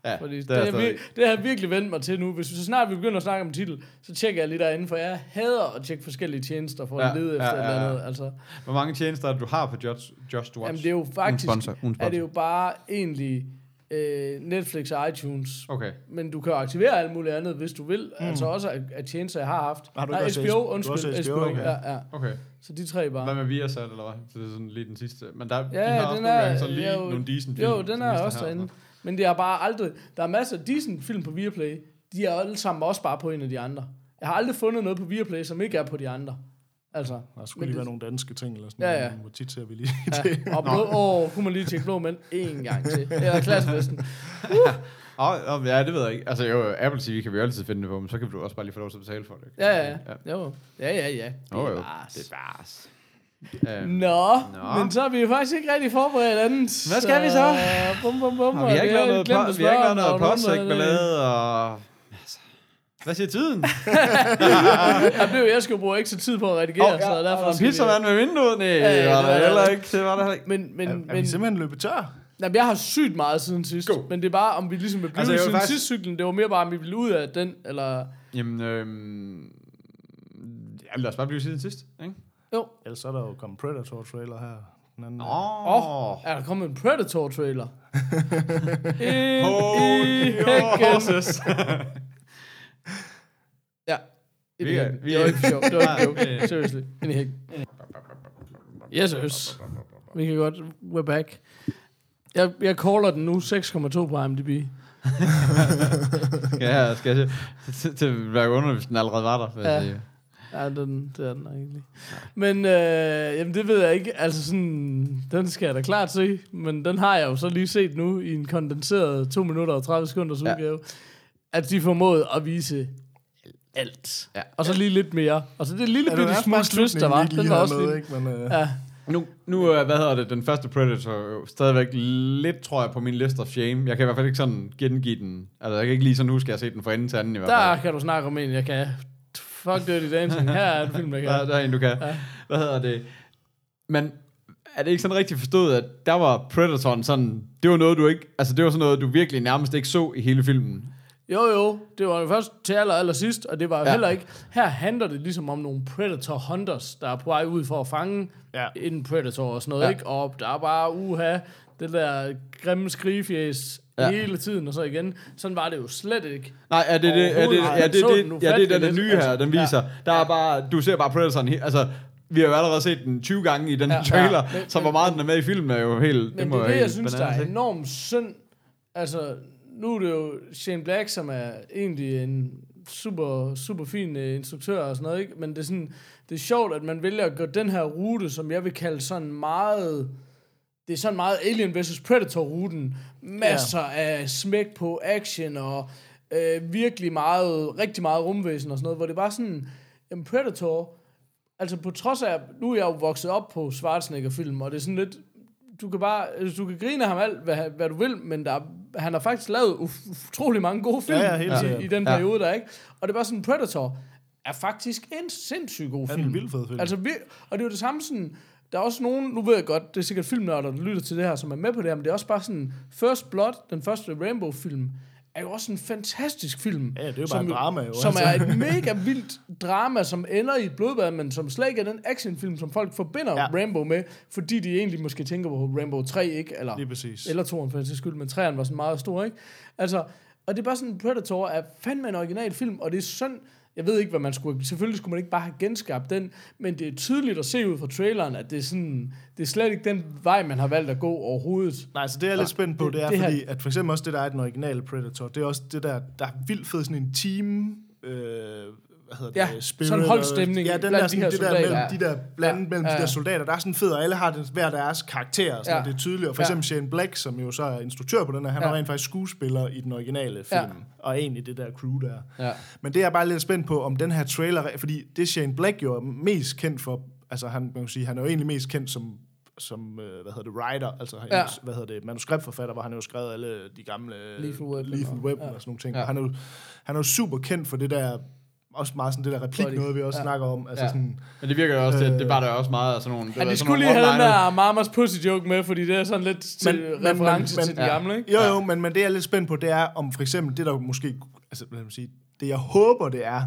S3: ja,
S5: Fordi det,
S3: der
S5: er
S3: stadig-
S5: vir- det har jeg virkelig vendt mig til nu. Hvis vi så snart vi begynder at snakke om titel, så tjekker jeg lige derinde, for jeg hader at tjekke forskellige tjenester for ja, at
S3: Ja,
S5: lede
S3: ja,
S5: efter ja, ja,
S3: ja,
S5: ja.
S3: ja.
S5: noget. Altså,
S3: Hvor mange tjenester er det, du har på Just, Just Watch?
S5: Jamen, det er jo
S3: Ugen
S5: faktisk,
S3: sponsor, ugen
S5: er det
S3: sponsor.
S5: jo bare egentlig øh, Netflix og iTunes.
S3: Okay.
S5: Men du kan jo aktivere alt muligt andet, hvis du vil. Mm. Altså også af, af tjenester, jeg har haft.
S4: Har du
S5: Nej,
S4: ikke også
S5: HBO,
S4: S- du har
S5: undskyld.
S4: også HBO, okay.
S5: ja, ja.
S3: Okay.
S5: Så de tre bare.
S3: Hvad med Viasat, eller hvad? Det er sådan lige den sidste. Men der,
S5: Ja,
S3: de har også
S5: den
S3: nogle
S5: er-
S3: gange sådan lige
S5: jo,
S3: nogle decent
S5: Jo,
S3: film,
S5: den
S3: som
S5: er også
S3: viser her altså. og
S5: derinde. Men det er bare aldrig... Der er masser af decent film på Viaplay. De er alle sammen også bare på en af de andre. Jeg har aldrig fundet noget på Viaplay, som ikke er på de andre.
S4: <laughs>
S5: Altså,
S4: Der skulle
S5: men
S4: lige
S5: det-
S4: være nogle danske ting, eller sådan
S5: Ja,
S4: noget.
S5: ja.
S4: Hvor tit ser vi lige det.
S5: Ja, og blå, åh, kunne man lige tjekke blå mænd en gang til. Eller klassefesten.
S3: Åh, oh, ja, det ved jeg ikke. Altså jo, Apple TV kan vi jo altid finde det på, men så kan du også bare lige få lov til at betale for det. ikke?
S5: Ja, ja, ja. Jo. Ja, ja, ja. Det
S3: Jo, jo.
S5: bare-
S3: Det er bars. Øhm,
S5: Nå,
S3: Nå.
S5: men så er vi jo faktisk ikke rigtig forberedt andet. øh,
S3: Hvad skal vi så?
S5: Bum, bum, bum.
S3: og vi har ikke lavet noget, po- vi har ikke lavet noget øh.
S5: postsækballade.
S3: postsækballade, og... Altså, Hvad siger tiden?
S5: Jeg blev, jeg skulle bruge ekstra tid på at redigere,
S3: Åh,
S5: oh, ja, så derfor...
S3: Og
S5: skal vi-
S3: pizzamand med vinduet? Nej,
S5: ja,
S3: det
S5: det
S3: var
S5: var
S3: der
S5: der
S3: heller
S5: heller
S3: ikke. Det var der heller ikke.
S5: Men, men,
S4: <laughs> Er
S5: men,
S4: vi simpelthen løbet tør?
S5: Jamen, jeg har sygt meget siden sidst,
S3: Go.
S5: Go. men det er bare, om vi ligesom vil blive
S3: Altså,
S5: altså,
S3: jeg
S5: siden
S3: vil faktisk-
S5: faktisk... sidst cyklen. Det var mere bare, om vi ville ud af den, eller...
S3: Jamen, øhm... Ja, lad os bare blive siden sidst, ikke?
S5: Jo.
S4: Ellers så er der jo kommet Predator-trailer her. Den anden,
S3: Åh.
S5: Åh, oh, er der kommet en
S3: <laughs>
S5: Predator-trailer? Ind i
S3: Hold your
S5: hækken.
S3: horses.
S5: Ja. Ind
S3: Vi
S5: i
S3: er-
S5: hækken.
S3: vi
S5: Det var
S3: er-
S5: ikke for sjov. Det var ikke
S3: Nej,
S5: joke.
S3: øh.
S5: Seriously. Ind i hækken. Yes, yes. Vi kan godt... We're back. Jeg, jeg caller den nu 6,2 på IMDb.
S3: Ja, ja, skal jeg se. Til- Til at være underligt, hvis den allerede var der. vil
S5: Ja.
S3: jeg sige.
S5: Ja, den, det er den egentlig. Men øh, jamen, det ved jeg ikke. Altså sådan, den skal jeg da klart se, men den har jeg jo så lige set nu i en kondenseret 2 minutter og 30 sekunders
S3: Ja.
S5: ja. udgave, at de formåede at vise alt.
S3: Ja.
S5: Og så lige lidt mere. Og så det lille
S4: Ja, det
S5: bitte
S4: var
S5: smule
S4: faktisk
S5: twist, der var,
S4: slutningen, vi
S5: den
S4: lige
S5: var
S4: havde
S5: også
S4: med,
S5: lidt...
S4: ikke? Men, øh,
S5: Ja,
S3: Nu, nu er, hvad hedder det, den første Predator jo stadigvæk lidt, tror jeg, på min list of shame. Jeg kan i hvert fald ikke sådan gengive den. Altså, jeg kan ikke lige sådan huske, at jeg har set den fra ende til anden i hvert fald.
S5: der kan du snakke om en, jeg kan... Fuck Dirty Dancing, her er en film, <laughs> jeg
S3: Der,
S5: kan.
S3: der er en, du kan. Ja. Hvad hedder det? Men er det ikke sådan rigtig forstået, at der var Predatoren sådan, det var noget, du ikke, altså det var sådan noget, du virkelig nærmest ikke så i hele filmen.
S5: Jo, jo, det var jo først til aller, aller sidst, og det var jo
S3: Ja.
S5: ja. heller ikke... Her handler det ligesom om nogle predator hunters, der er på vej ud for at fange
S4: Ja.
S5: ja. en predator og sådan noget,
S3: Ja.
S5: ja. ikke? Og der er bare, uha, det der grimme skrigefjæs
S3: Ja.
S5: ja. hele tiden, og så igen. Sådan var det jo slet ikke.
S3: Nej, er det det, er det,
S5: Overhovedet
S3: ja,
S5: ikke.
S3: det,
S5: Så
S3: det,
S5: den
S3: ja, det er den, den
S5: ufattelig
S3: nye
S5: lidt.
S3: her, den
S5: Ja.
S3: viser. Der er bare, du ser bare Predatoren, he- altså, vi har jo allerede set den 20 gange i den her
S5: Ja.
S3: trailer,
S5: Ja. Men-
S3: så hvor meget den er med i filmen er jo helt,
S5: Men
S3: må
S5: det er
S3: jo
S5: det, jeg
S3: helt
S5: synes, der
S3: bananas,
S5: er
S3: ikke?
S5: enormt synd. Altså, nu er det jo Shane Black, som er egentlig en super, super fin øh, instruktør og sådan noget, ikke? Men det er, sådan, det er sjovt, at man vælger at gå den her rute, som jeg vil kalde sådan meget... Det er sådan meget Alien vs. Predator-ruten. Masser ja. af smæk på action og øh, virkelig meget, rigtig meget rumvæsen og sådan noget, hvor det er bare sådan, jamen Predator, altså på trods af, nu er jeg jo vokset op på Schwarzenegger-film, og det er sådan lidt, du kan bare, altså, du kan grine af ham alt, hvad, hvad du vil, men der, er- han har faktisk lavet uf- utrolig mange gode film
S4: Ja, ja, helt sikkert.
S5: i, i den
S3: Ja.
S5: periode der, ikke? Og det er bare sådan, Predator er faktisk en sindssygt god
S4: er
S5: film.
S4: det en vild fed film?
S5: Altså, vi, og det er jo det samme sådan, der er også nogen, nu ved jeg godt, det er sikkert filmnørder, der lytter til det her, som er med på det her, men det er også bare sådan, First Blood, den første Rainbow-film, er jo også en fantastisk film.
S4: Ja, det er jo bare et drama, jo,
S5: Som
S4: altså.
S5: er et mega vildt drama, som ender i et blodbad, men som slet ikke er den actionfilm, som folk forbinder
S4: Ja.
S5: ja. Rainbow med, fordi de egentlig måske tænker på Rainbow 3, ikke? Eller,
S4: Lige præcis.
S5: Eller 2'eren for den sags skyld, men 3'eren var sådan meget stor, ikke? Altså, og det er bare sådan, Predator er fandme en original film, og det er synd, jeg ved ikke, hvad man skulle... Selvfølgelig skulle man ikke bare have genskabt den, men det er tydeligt at se ud fra traileren, at det er sådan... Det er slet ikke den vej, man har valgt at gå overhovedet.
S4: Nej, så det jeg er lidt spændt på,
S5: det-
S4: det er
S5: det her-
S4: fordi, at for eksempel også det, der er den originale Predator, det er også det der, der er vildt fed sådan en team, øh, hvad hedder det,
S5: Ja,
S4: spirit,
S5: sådan holdstemning
S4: Ja, den
S5: blandt
S4: der,
S5: de
S4: sådan,
S5: her
S4: det der
S5: soldater.
S4: mellem, de der, blandt
S5: Ja,
S4: mellem
S5: ja,
S4: de der
S5: ja.
S4: soldater, der er sådan fed, og alle har det, hver deres karakter, og sådan,
S5: Ja.
S4: og det er tydeligt, og for
S5: Ja.
S4: eksempel Shane Black, som jo så er instruktør på den her, han
S5: Ja.
S4: var rent faktisk skuespiller i den originale film,
S5: Ja.
S4: og egentlig det der crew der.
S5: Ja.
S4: Men det er jeg bare lidt spændt på, om den her trailer, fordi det Shane Black jo er mest kendt for, altså han, man kan sige, han er jo egentlig mest kendt som, som øh, hvad hedder det, writer, altså han, ja.
S5: Ja.
S4: hvad hedder det, manuskriptforfatter, hvor han jo skrevet alle de gamle øh,
S5: Lethal Weapon
S4: Lethal
S5: og-
S4: Weapon
S5: ja.
S4: og sådan nogle ting.
S3: Ja.
S4: Ja. Han, er jo, han er jo super kendt for det der, også meget sådan det der replik,
S5: Body.
S4: noget vi også
S5: Ja.
S4: snakker om, altså
S3: Ja.
S4: ja. sådan,
S3: Men det virker jo også, det, det var der også meget af sådan nogle...
S5: Ja,
S3: det var
S5: de
S3: sådan
S5: skulle lige
S3: nogle
S5: have den
S3: one-liners.
S5: der Mamas Pussy joke med, fordi det er sådan lidt til
S4: Men- men-
S5: reference
S4: men-
S5: til
S4: ja.
S5: den gamle, ikke?
S4: Jo, jo, men, men det jeg er lidt spændt på, det er om for eksempel det, der måske, altså lad mig sige, det jeg håber, det er,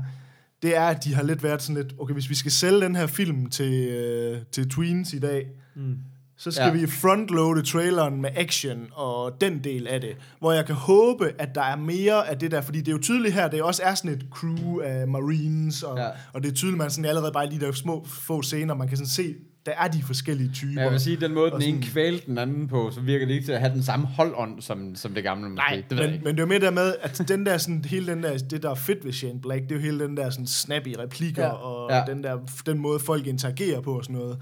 S4: det er, at de har lidt været sådan lidt, okay, hvis vi skal sælge den her film til, øh, til tweens i dag, mm. så skal
S3: Ja.
S4: ja. vi frontloade traileren med action og den del af det, hvor jeg kan håbe, at der er mere af det der, fordi det er jo tydeligt her, det også er sådan et crew af marines, og,
S3: Ja.
S4: ja. og det er tydeligt, man sådan allerede bare i de der små få scener, man kan sådan se, der er de forskellige typer.
S3: Men jeg vil sige, den måde,
S4: Og
S3: den ene kvælte den anden på, så virker det ikke til at have den samme holdånd, som, som det gamle måske. Nej, det ved jeg
S4: men,
S3: ikke.
S4: men det er jo mere der med, at den der, sådan, hele den der, det der er fedt ved Shane Black, det er jo hele den der sådan, snappy replikker,
S7: Ja.
S4: ja. og
S3: Ja.
S4: ja. den, der, den måde, folk interagerer på og sådan noget.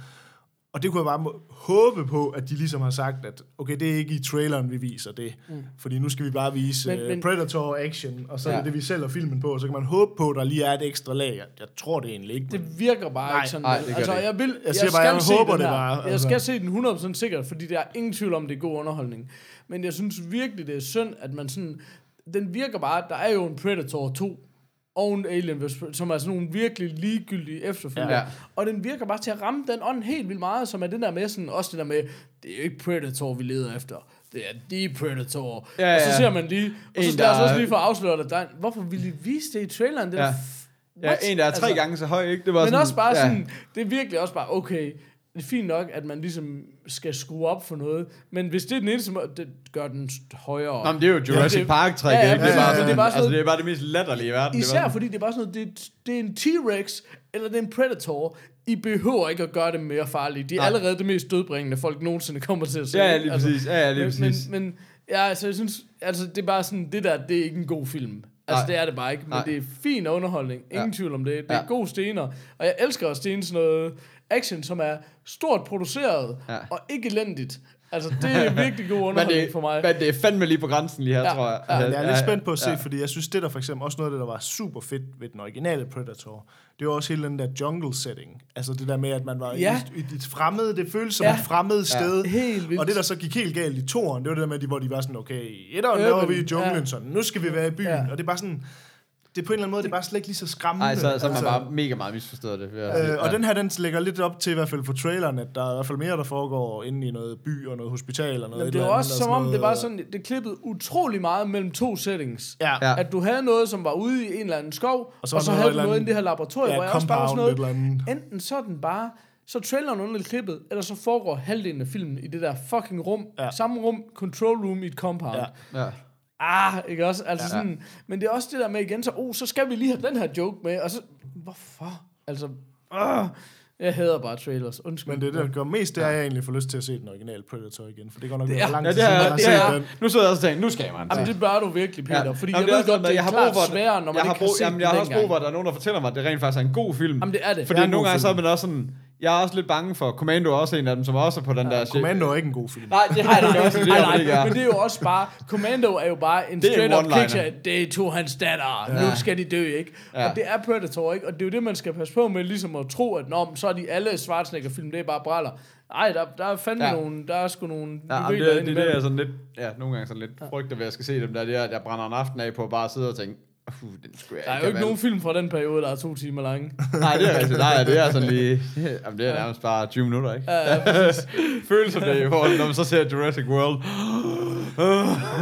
S4: Og det kunne jeg bare må- håbe på, at de ligesom har sagt, at okay, det er ikke i traileren, vi viser det. Mm. Fordi nu skal vi bare vise
S5: Men-
S4: men,
S5: men-
S4: men, Predator action, og så ja.
S3: Ja.
S4: er det det, vi sælger filmen på, og så kan man håbe på, at der lige er et ekstra lag. Jeg, jeg tror det egentlig ikke.
S5: Det virker bare
S4: Nej,
S5: ikke sådan.
S3: nej,
S5: vel?
S3: det gør
S5: altså,
S3: det ikke.
S5: jeg, vil,
S4: siger bare, jeg
S5: se
S4: håber
S5: den
S4: det
S5: her.
S4: bare,
S5: Jeg
S4: altså.
S5: skal se den 100% sikkert, fordi der er ingen tvivl om, det er god underholdning. Men jeg synes virkelig, det er synd, at man sådan... Den virker bare, at der er jo en Predator 2 og en Alien, vs. Predator, som er sådan nogle virkelig ligegyldige efterfølgere.
S3: Ja.
S5: Ja. Og den virker bare til at ramme den ånd helt vildt meget, som er det der med sådan, også det der med, det er jo ikke Predator, vi leder efter. Det er de Predator.
S3: Ja,
S5: og så
S3: ja.
S5: ser man lige, og så
S3: En,
S5: lad os
S3: der-
S5: også lige få afsløret, at der, er- hvorfor ville I vise det i traileren? Det er
S3: Ja.
S5: da f-
S3: Ja,
S5: what?
S3: en, der er tre altså, gange så høj, ikke? Det var
S5: Men
S3: sådan,
S5: også bare
S3: ja.
S5: sådan, det er virkelig også bare, okay, det er fint nok, at man ligesom skal skrue op for noget, men hvis det er den eneste måde, det gør den st- højere.
S3: Nå, men det er jo Jurassic
S5: Ja,
S3: ja,
S5: det-
S3: park trækket
S5: Ja, ja,
S3: ikke? Det er, bare
S5: men
S3: sådan,
S5: det er bare sådan-
S3: altså, det er bare det mest latterlige i verden. det er
S5: Især
S3: bare sådan-
S5: fordi det er bare sådan noget, det, er- det er en T-Rex, eller det er en Predator, I behøver ikke at gøre det mere farlige. De er
S3: Nej.
S5: allerede det mest dødbringende, folk nogensinde kommer til at se.
S3: Ja, ja,
S5: ikke?
S3: lige præcis. Ja, ja, lige
S5: altså- men,
S3: præcis.
S5: men, men ja, altså, jeg synes, altså, det er bare sådan, det der, det er ikke en god film. Altså,
S3: Nej.
S5: det er det bare ikke, men
S3: Nej.
S5: Nej. det er fin underholdning. Ingen
S3: Ja.
S5: ja. tvivl om det. Det er
S3: Ja.
S5: ja. gode stener. Og jeg elsker at stene sådan noget action, som er stort produceret
S3: Ja.
S5: ja. og ikke elendigt. Altså,
S3: <laughs>
S5: det er virkelig god
S3: Men
S5: underholdning
S3: det,
S5: for mig.
S3: men det er fandme lige på grænsen lige her,
S5: Ja,
S3: tror jeg.
S5: ja.
S3: Altså,
S4: Men jeg er lidt spændt på at se, ja. fordi jeg synes, det der for eksempel også noget af det, der var super fedt ved den originale Predator, det var også hele den der jungle setting. Altså det der med, at man var
S5: Ja.
S4: ja. i, i et fremmede, det føltes som
S5: Ja.
S4: ja. et fremmed sted.
S5: Helt vildt.
S4: Og det, der så gik helt galt i toren, det var det der med, at de- hvor de var sådan, okay, i etteren der
S5: Urban,
S4: var vi i junglen,
S5: ja.
S4: ja. sådan, nu skal vi være i byen.
S5: Ja.
S4: Ja. Og det er bare sådan, det er på en eller anden måde, det er bare slet ikke lige så skræmmende. Altså,
S3: Nej, så, så er
S5: Altså-
S3: man bare mega meget misforstået det. vil jeg sige.
S4: Øh, og
S3: Ja.
S4: den her, den lægger lidt op til, i hvert fald for traileren, at der er i hvert fald mere, der foregår inde i noget by og noget hospital og noget
S5: Men
S4: et
S5: det var
S4: eller andet,
S5: også
S4: og
S5: som
S4: sådan
S5: om, det
S4: noget.
S5: var sådan, det klippede utrolig meget mellem to settings.
S4: Ja.
S3: Ja.
S5: At du havde noget, som var ude i en eller anden skov, og
S4: Og
S5: så,
S4: så
S5: og så
S4: noget
S5: havde du
S4: eller
S5: noget i
S4: andet-
S5: det her laboratorium,
S4: ja,
S5: hvor jeg også bare var sådan
S4: compound,
S5: noget,
S4: et eller
S5: enten så er den bare, så er traileren underligt klippet, eller så foregår halvdelen af filmen i det der fucking rum, ja.
S4: Ja.
S5: samme rum, control room i et compound. Ja.
S4: Ja.
S3: Ja.
S5: Ah, ikke også? Altså
S3: Ja.
S5: ja. sådan, men det er også det der med igen, så, oh, så skal vi lige have den her joke med, og så, hvorfor? Altså, uh, jeg hader bare trailers, undskyld.
S4: Men det, der gør mest, det er, at jeg egentlig får lyst til at se den originale Predator igen, for det går nok det
S5: er-
S4: er, lang
S3: Ja,
S4: tid
S3: det
S4: siden,
S3: er,
S4: man har
S3: det
S4: set
S3: er,
S4: den.
S3: nu sidder jeg også og tænker, nu skal man.
S5: Jamen, det bør du virkelig, Peter, fordi
S3: Jamen,
S5: jeg ved
S3: også
S5: godt,
S3: sådan,
S5: det er
S3: jeg har brug
S5: klart
S3: for-
S5: sværere, når man
S3: jeg
S5: ikke
S3: har
S5: har
S3: brug,
S5: set
S3: jamen,
S5: den
S3: Jeg har også brug
S5: dengang.
S3: for, at der er nogen, der fortæller mig, at det rent faktisk er en god film.
S5: Jamen, det er det.
S3: Fordi
S5: Det
S3: er
S5: er en
S3: nogle
S5: god
S3: gange så er
S5: film.
S3: man også sådan, jeg er også lidt bange for, Commando er også en af dem, som også er på den der...
S4: Commando er ikke en god film.
S3: Nej, det har jeg
S5: <laughs>
S3: nok også, det
S5: Nej,
S3: er jeg
S5: nej,
S3: ikke er.
S5: men det er jo også bare, Commando er jo bare en
S3: Det er en
S5: straight up
S3: one-liner.
S5: picture, det tog hans datter, ja. nu skal de dø, ikke? Ja. Og det er Predator, ikke? Og det er jo det, man skal passe på med, ligesom at tro, at Nå, men så er de alle Schwarzenegger-film, det er bare braller. Nej, der, der er fandme
S3: Ja.
S5: ja. nogle, der er sgu nogle
S3: Ja,
S5: juveler
S3: jamen, det, det, det,
S5: indimellem.
S3: det er sådan lidt, ja, nogle gange sådan lidt frygter ved, at jeg skal se dem der, der, der brænder en aften af på at bare sidde og tænke, uh, den skulle jeg
S5: Der er jo
S3: have
S5: ikke nogen
S3: valgt."
S5: film fra den periode, der er to timer lange.
S3: Nej, det er rigtigt. Nej, det er sådan lige... Jamen, det er nærmest bare 20 minutter, ikke? Ja, Følelsen af, i forhold til, når man så ser Jurassic World.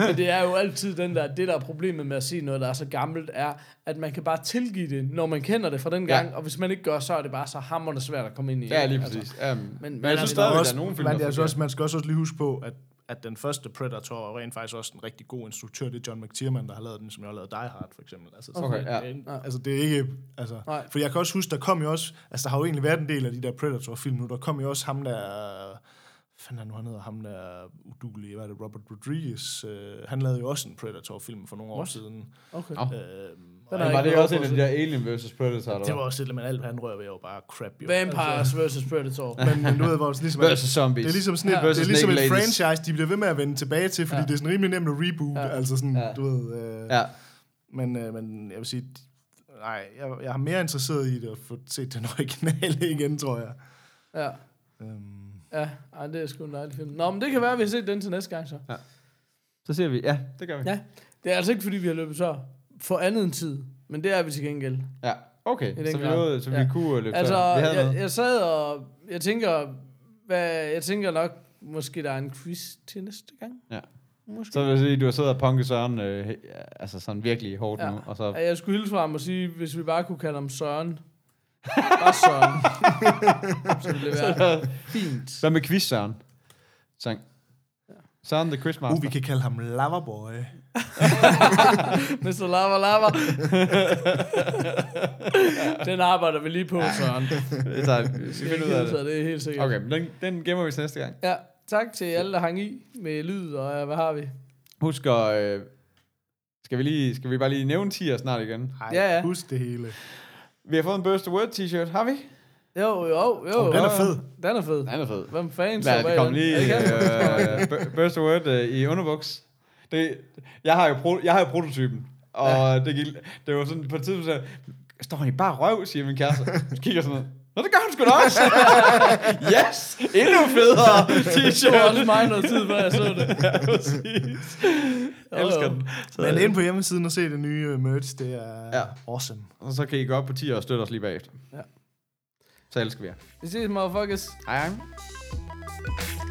S5: Men det er jo altid den der, det der er problemet med at se noget, der er så gammelt, er, at man kan bare tilgive det, når man kender det fra den gang,
S3: Ja.
S5: ja. og hvis man ikke gør, så er det bare så hammerende svært at komme ind i.
S3: Ja, lige
S5: ikke?
S3: præcis. Um, men, men
S5: men
S3: jeg
S5: altså,
S3: synes
S5: der er
S3: stadigvæk, der er nogle film,
S4: men
S3: der
S4: jeg synes
S3: fungerer.
S4: også, man skal også også lige huske på, at, at den første Predator er rent faktisk også en rigtig god instruktør. Det er John McTiernan, der har lavet den, som jeg har lavet Die Hard, for eksempel. Altså, sådan-
S3: Okay, ja.
S4: Altså, det er ikke... Altså,
S5: Nej.
S4: for jeg kan også huske, der kom jo også... Altså, der har jo egentlig været en del af de der Predator-film nu. Der kom jo også ham, der... Hvad fanden er nu, han hedder? Ham, der er udulig. Hvad er det? Robert Rodriguez. Øh, han lavede jo også en Predator-film for nogle år siden.
S5: Okay.
S3: Nå.
S4: Øh,
S5: Den har jeg
S3: Men var
S5: ikke
S3: det
S5: behov
S3: også
S5: for
S3: en
S5: at
S3: af de
S5: se.
S3: der Alien vs. Predator,
S4: det
S3: eller
S4: var
S3: hvad?
S4: også et eller andet, alt hvad han rører ved, er jo bare crap, jo. Altså,
S5: Vampires vs. Predator.
S4: Men, men du ved, hvor det ligesom
S3: Versus zombies.
S4: Det er ligesom sådan et,
S3: Ja.
S4: ja. det
S3: Versus
S4: er ligesom et
S3: Naked Ladies.
S4: franchise, de bliver ved med at vende tilbage til, fordi ja. det er sådan rimelig nemt at reboot, ja. altså sådan,
S3: Ja.
S4: ja. du ved. Øh, ja.
S3: Ja.
S4: men, øh, men jeg vil sige, d- nej, jeg, jeg er mere interesseret i det at få set den originale <laughs> igen, tror jeg.
S5: Ja.
S4: Øhm,
S5: Ja, ej, det er sgu en dejlig film. Nå, men det kan være, at vi har set den til næste gang så.
S3: Så ser vi, ja, det gør vi.
S5: Ja. Det er altså ikke, fordi vi har løbet tør for andet end tid, men det er vi til gengæld.
S3: Ja, okay.
S5: den
S3: Så vi,
S5: grad.
S3: nåede, så vi
S5: Ja.
S3: kunne øh, løbe
S5: Altså,
S3: tør. vi havde
S5: jeg,
S3: noget.
S5: jeg sad og... Jeg tænker, hvad, jeg tænker nok, måske der er en quiz til næste gang.
S3: Så vil jeg sige, du har siddet og punket Søren øh, he- ja, altså sådan virkelig hårdt
S5: Ja.
S3: nu. Og så,
S5: Jeg skulle hilse fra ham og sige, hvis vi bare kunne kalde ham Søren.
S3: <laughs>
S5: Bare Søren. så ville det være fint.
S3: hvad med quiz, Søren? sang. Sound the Christmas.
S4: Uh, vi kan kalde ham Loverboy.
S5: Mr. Lava
S3: <laughs>
S5: Lava. den arbejder vi lige på, Søren.
S3: Det tager, vi skal finde ud af
S5: Så
S3: det.
S5: det er helt sikkert.
S3: Okay, men den, den gemmer vi til næste gang.
S5: Ja, tak til alle, der hang i med lyd, og øh, hvad har vi?
S3: Husk at... Øh, skal, vi lige, skal vi bare lige nævne tier snart igen?
S4: Ej,
S5: Ja, ja.
S4: husk det hele.
S3: Vi har fået en Burst of Word t-shirt, har vi?
S5: Jo, jo, jo.
S4: den er
S5: jo.
S4: fed.
S5: Den er fed.
S3: Den er fed.
S5: Hvem fanden står
S3: Lad os
S5: bag
S3: komme
S5: den?
S3: lige
S5: Er det ikke det?
S3: øh, bu- Burst of Word øh, i underbuks. Det, jeg, har jo pro, jeg har jo prototypen, og ja. det, gik, det var sådan på et tidspunkt, så jeg, står han i bare røv, siger min kæreste. Så kigger jeg sådan noget. Nå, det gør hun sgu da også. <laughs> yes, endnu federe
S5: Det var også
S3: <laughs> t-shirt.
S5: mig noget tid, før jeg så det.
S3: <laughs> ja, præcis. Jeg elsker den. Så,
S4: Men ind på hjemmesiden og se det nye øh, merch, det er
S3: Ja.
S4: ja. awesome.
S3: og så kan I gå op på 10 og støtte os lige bagefter.
S5: Ja.
S3: Så elsker vi jer.
S5: Vi ses, motherfuckers.
S3: Hej, hej.